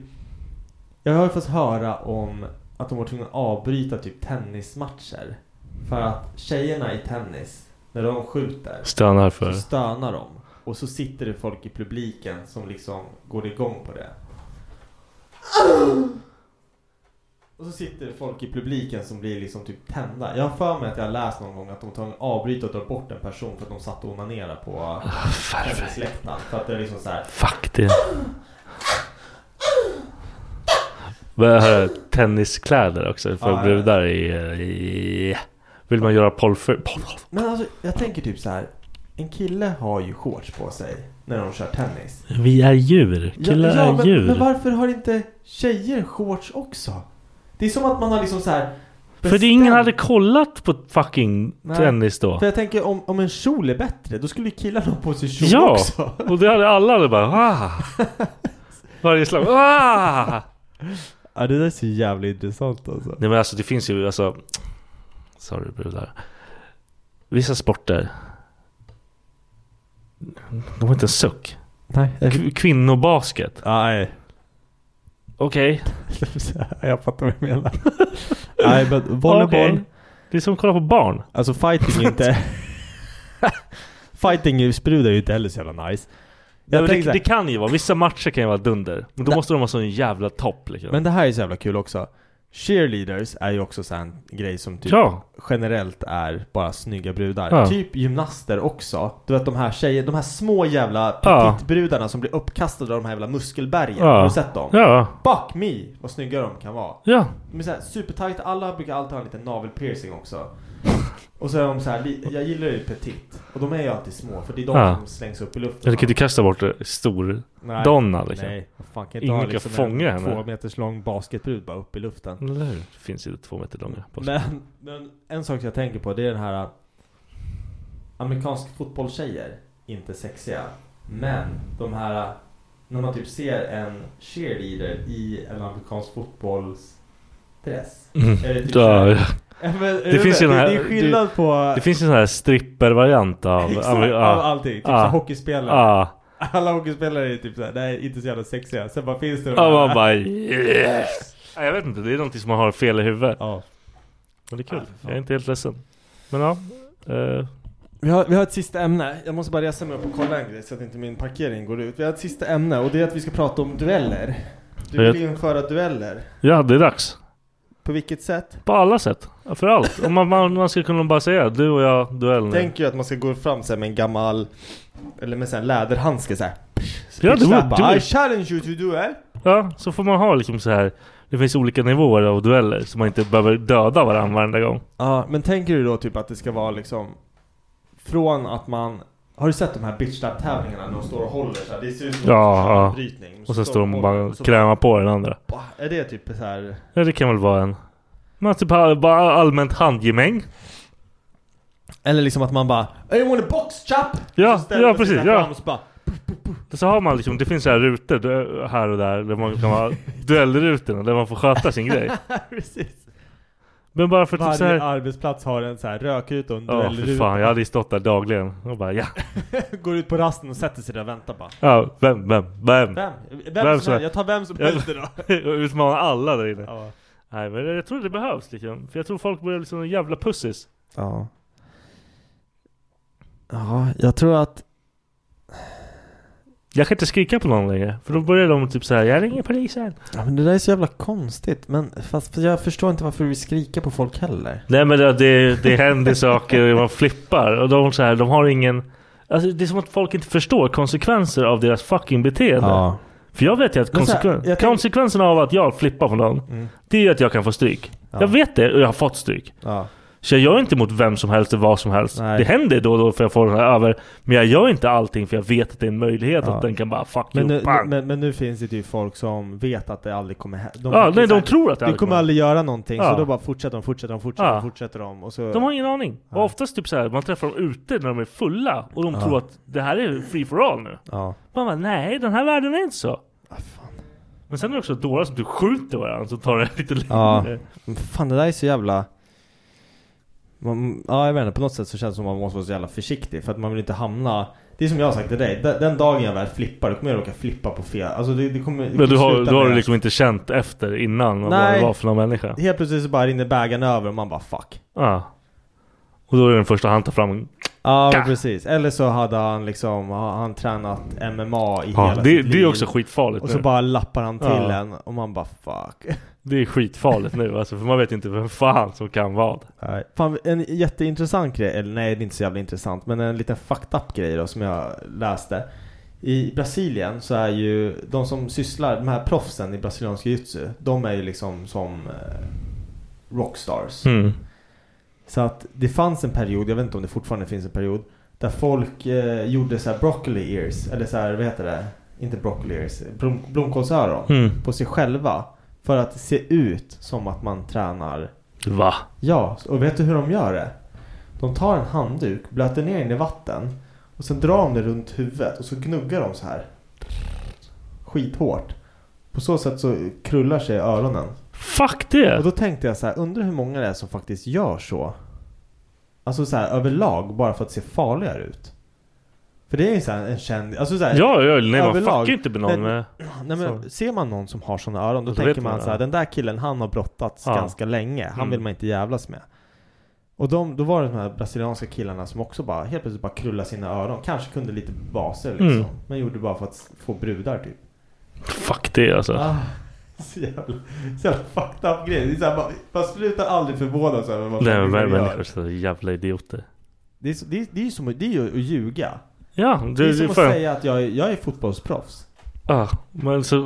Jag har ju fått höra om att de var tvungna att avbryta typ tennismatcher. För att tjejerna i tennis, när de skjuter,
Stönar för.
så stönar de. Och så sitter det folk i publiken som liksom går igång på det. Och så sitter det folk i publiken som blir liksom typ tända. Jag har för mig att jag har läst någon gång att de tar en avbryt och drar bort en person för att de satt och onanerade på tennisläktaren. För att det är liksom så här.
Fuck det. Börjar höra tenniskläder också för
Ja, ja, ja.
brudar är... i- Vill man göra polfer... Pol
Men alltså jag tänker typ så här. En kille har ju shorts på sig när de kör tennis.
vi är djur. Killar
ja,
är
men,
djur.
men varför har inte tjejer shorts också? Det är som att man har liksom så här.
för det ingen hade kollat på fucking
Nej.
tennis då.
För jag tänker om, om en kjol är bättre, då skulle ju killarna ha på sig kjol
Ja!
också.
Och det hade alla hade bara... Ah. Varje slag. Ah.
Ja det där är så jävla intressant alltså.
Nej men alltså det finns ju alltså Sorry brudar Vissa sporter De har inte en suck
Nej.
K- Kvinnobasket
Nej.
Okej
jag fattar vad du menar. Nej men volleyboll.
Okej. Det är som att kolla på barn
Alltså fighting är inte... fighting i sprudar ju inte heller så jävla nice. Jag
Nej, men
tänker så
det,
här-
det kan ju vara, vissa matcher kan ju vara dunder Men då
Nej.
måste de ha sån jävla topp liksom
Men det här är så jävla kul också. Cheerleaders är ju också så här en grej som typ
Ja.
generellt är bara snygga brudar.
Ja.
Typ gymnaster också. Du vet de här tjejer, de här små jävla
Ja.
petitbrudarna som blir uppkastade av de här jävla muskelbergen.
Ja.
Har du sett dem?
Ja,
Fuck me vad snygga de kan vara.
ja
De är såhär supertajta, alla brukar alltid ha en liten navelpiercing också. Och så är de såhär, li- jag gillar ju petit. Och de är ju alltid små för det är de
Ja.
som slängs upp i
Ja,
luften.
Du kan inte kasta bort det. stor
Nej.
Donna liksom
Nej, vad fan kan
Ingen
inte ha
kan
liksom
fånga
en
henne.
två meters lång basketbrud bara upp i luften.
Eller hur? Det finns ju två meter långa på
Men, men en sak jag tänker på det är den här äh, Amerikansk fotbollstjejer, inte sexiga Men de här äh, När man typ ser en cheerleader i en amerikansk fotbollsdress
Mm.
Är det
Ja,
typ så här-
ja.
Ja, men, är
Det finns ju den
det,
här-
det är skillnad på
Det finns en sån här strippervariant av...
Exakt,
av- ja.
av allting, typ
Ja.
så här hockeyspelare
Ja.
Alla hockeyspelare är typ såhär, nej inte så jävla sexiga Sen bara finns det de
Ja
här-
man bara yes! Nej, Jag vet inte, det är någonting som man har fel i huvudet.
Ja.
Men det är kul.
Ja, för fan.
jag är inte helt ledsen. Men ja. eh,
Vi har, vi har ett sista ämne. Jag måste bara resa mig upp och kolla en grej så att inte min parkering går ut. Vi har ett sista ämne och det är att vi ska prata om dueller. Du vill införa dueller.
ja, det är dags.
På vilket sätt?
På alla sätt. Ja, För allt. Om man, man, man ska kunna bara säga du och jag, duell nu.
Tänk ju att man ska gå fram så här med en gammal, eller med så här en läderhandske såhär.
Ja, du- du-
I challenge you to duel!
Ja, så får man ha liksom så här. Det finns olika nivåer av dueller så man inte behöver döda varandra varenda gång.
Ja, men tänker du då typ att det ska vara liksom från att man har du sett de här bitch slap tävlingarna när de står och håller så här? Det ser ut som
Ja, ja.
en brytning.
Och sen står de och bara
och så-
krämar på den andra.
Är det typ så här?
Ja, det kan väl vara en. Man typ har bara allmänt handgemäng.
Eller liksom att man bara I want a box chap!
Ja,
Så ställer
ja
man sig
precis.
där
Ja.
fram och så bara,
Så har man liksom, det finns så här rutor du- här och där, där man kan ha duellrutorna där man får sköta sin grej.
precis.
Men bara för
Varje
typ så här,
arbetsplats har en så här rökruta och en
Ja, för fan.
duellruta.
Jag hade ju stått där dagligen och bara ja.
Går ut på rasten och sätter sig där och väntar bara.
ja vem, vem, vem?
Vem? Vem,
Vem
som
som-
helst? Jag tar vem som
Ja.
helst idag.
Utmana alla där inne.
Ja.
Nej men jag tror det behövs liksom. För jag tror folk börjar liksom jävla pussis.
Ja. Ja, jag tror att
Jag kan inte skrika på någon längre. För då börjar de typ såhär, jag ringer polisen.
Ja, men det där är så jävla konstigt. Men fast jag förstår inte varför vi skriker på folk heller.
Nej men det, det, det händer saker och man flippar. Och de, så här, de har ingen... Alltså, det är som att folk inte förstår konsekvenser av deras fucking beteende.
Ja.
För jag vet ju att
Men så här,
konsekven-
jag tänk- Mm.
konsekvenserna av att jag flippar på någon, det är ju att jag kan få stryk. Jag vet det och jag har fått stryk.
Ja.
Så jag gör inte mot vem som helst och vad som helst. Det händer då och då för jag får den här över. Men jag gör inte allting för jag vet att det är en möjlighet
Ja.
att den kan bara fuck
Men
you,
nu,
pang!
men, men nu finns det ju folk som vet att det aldrig kommer hända.
Ja, nej, de tror att det
Du
aldrig
kommer
kommer-
aldrig göra någonting,
Ja.
så då bara fortsätter de, fortsätter de, fortsätter de,
Ja.
fortsätter de. Och så...
De har ingen aning. Och oftast typ så här, man träffar dem ute när de är fulla och de
Ja.
tror att det här är free for all nu.
Ja.
Man bara, nej den här världen är inte så.
Ah,
Men sen är det också dårar som typ skjuter varandra som tar det lite
Ja.
längre.
Men Fan det där är så jävla... Man, ja jag vet inte, på något sätt så känns det som att man måste vara så jävla försiktig för att man vill inte hamna... Det är som jag har sagt till dig, den, den dagen jag väl flippar då kommer jag råka flippa på fel... Alltså det, det kommer... det
Men du
kommer
har,
sluta
du har liksom-
med-
du liksom inte känt efter innan vad
Nej.
det var för någon människa.
Helt plötsligt så bara rinner bägaren över och man bara fuck.
Ja. Och då är den första han tar fram en
Ja
Ka.
men precis, eller så hade han liksom, ha- han tränat MMA i
Ja,
hela
det-
sitt
det är
liv.
också skitfarligt
Och
nu.
så bara lappar han till
Ja.
en och man bara fuck
Det är skitfarligt nu alltså, för man vet inte vem fan som kan vad.
Nej. Fan, en jätteintressant grej, eller nej det är inte så jävla intressant, men en liten fucked up grej då som jag läste I Brasilien så är ju de som sysslar, de här proffsen i brasiliansk jiu-jitsu De är ju liksom som eh, rockstars
Mm.
Så att det fanns en period, jag vet inte om det fortfarande finns en period Där folk eh, gjorde så här broccoli ears, eller så här, vad heter det? Inte broccoli ears, blom, blomkålsöron
Mm.
på sig själva För att se ut som att man tränar
Va?
Ja, och vet du hur de gör det? De tar en handduk, blöter ner den i vatten och sen drar de det runt huvudet och så gnuggar de så här skithårt. På så sätt så krullar sig öronen.
Fuck det!
Och då tänkte jag så här, undrar hur många det är som faktiskt gör så? Alltså så här överlag, bara för att se farligare ut. För det är ju så här en känd... Alltså så här,
Ja, ja, nej man
överlag.
fuckar ju inte med någon eh.
Men-
med...
Nej, men ser man någon som har sådana öron då
Då
tänker
vet
man,
man,
så här,
ja.
den där killen han har brottats
Ja.
ganska länge, han
Mm.
vill man inte jävlas med. Och de, då var det de här brasilianska killarna som också bara helt plötsligt bara krullade sina öron, kanske kunde lite baser liksom.
Mm.
Men gjorde det bara för att s- få brudar typ.
Fuck det alltså.
Ah, så jävla, så jävla fucked up grej. Det är så här, man, man slutar aldrig förvånas över vad
nej men
människor gör.
människor är så jävla idioter.
Det är, så- det, är, det är ju som att, det är ju att ljuga.
Ja,
det,
det-
är
det
som
är
att
fan-
säga att jag, är- jag är fotbollsproffs.
Ja, men så...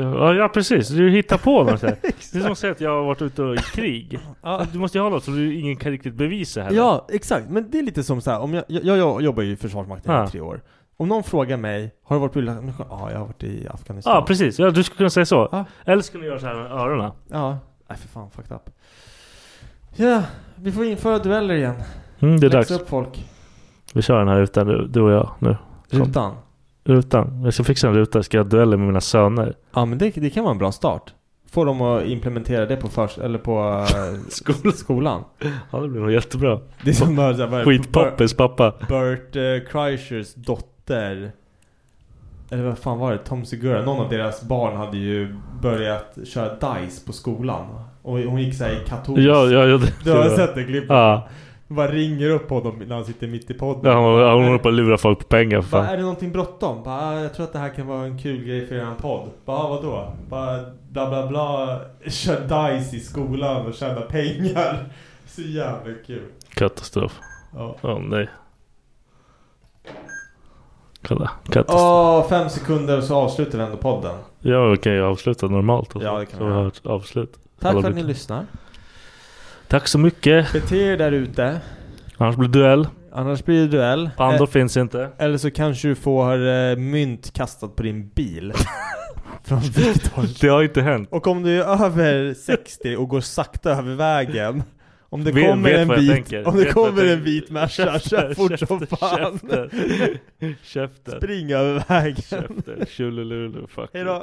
Ja, ja precis, du hittar på något så här. Det är som att säga att jag har varit ute och i krig. Du måste ju ha något som du ingen kan riktigt bevisa heller.
Ja, exakt. Men det är lite som så här, om jag, jag, jag jobbar ju i Försvarsmakten
Ja.
i tre år. Om någon frågar mig, har du varit på Irland? Ja, jag har varit i Afghanistan.
Ja precis, ja, du skulle kunna säga så.
Ja.
Eller skulle du göra så här med öronen.
Ja. Nej, för fan, fucked up. Ja, vi får införa dueller igen.
Mm, det är
Läxa
dags.
upp folk.
Vi kör den här rutan du, du och jag nu. Kom.
Rutan.
Rutan. Jag ska fixa en ruta, jag ska göra dueller med mina söner.
Ja, men det, det kan vara en bra start. Få dem att implementera det på, förs- eller på eh, skolan.
Ja det blir nog jättebra.
Det är som bara så här, vad är det?
Skitpoppis pappa.
Bert eh, Kreishers dotter Eller vad fan var det? Tom Segura? Någon av deras barn hade ju börjat köra DICE på skolan Och hon gick såhär i katolsk
Ja, ja, ja, det-
Oh. Du har
det-
sett det klippet?
Ja.
Hon bara ringer upp honom när han sitter mitt i podden
Ja, hon hon håller på att lura folk på pengar för
bara,
fan.
är det någonting bråttom? Bara, "Ah, jag tror att det här kan vara en kul grej för eran podd. Bara, "Ah, vadå? Bara, bla bla bla, kör DICE i skolan och tjäna pengar. Så jävla kul.
Katastrof.
Ja.
Åh nej. Kolla, katastrof.
Åh, fem sekunder så avslutar vi ändå podden.
Ja, vi kan ju avsluta normalt. Och så.
Ja, det kan
så
vi
vi har
göra.
ett avslut.
Tack
Alla
för att ni
brukar-
lyssnar.
Tack så mycket.
Bete er där ute.
Annars blir det duell.
Annars blir det duell.
Pandor
Eh,
finns inte.
Eller så kanske du får eh, mynt kastat på din bil. Från Viktor.
Det har inte hänt.
Och om du är över 60 och går sakta över vägen. Om det
Vet-
kommer
vet
en
vad jag
vit,
tänker.
om det
Vet vad jag
kommer en
tänker.
vit Merca, kör
Käften,
fort som
käften,
fan.
käften. Käften.
Spring över vägen.
Käften. Tjolilulu. Fuck you.
Hejdå.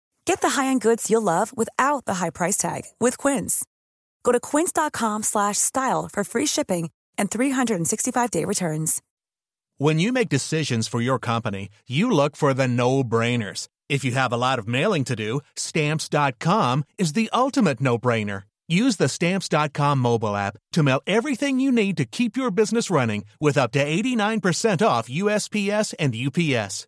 Get the high-end goods you'll love without the high price tag with Quince. Go to quince.com slash style for free shipping and 365-day returns.
When you make decisions for your company, you look for the no brainers. If you have a lot of mailing to do, stamps.com is the ultimate no brainer. Use the stamps.com mobile app to mail everything you need to keep your business running with up to 89% off USPS and UPS.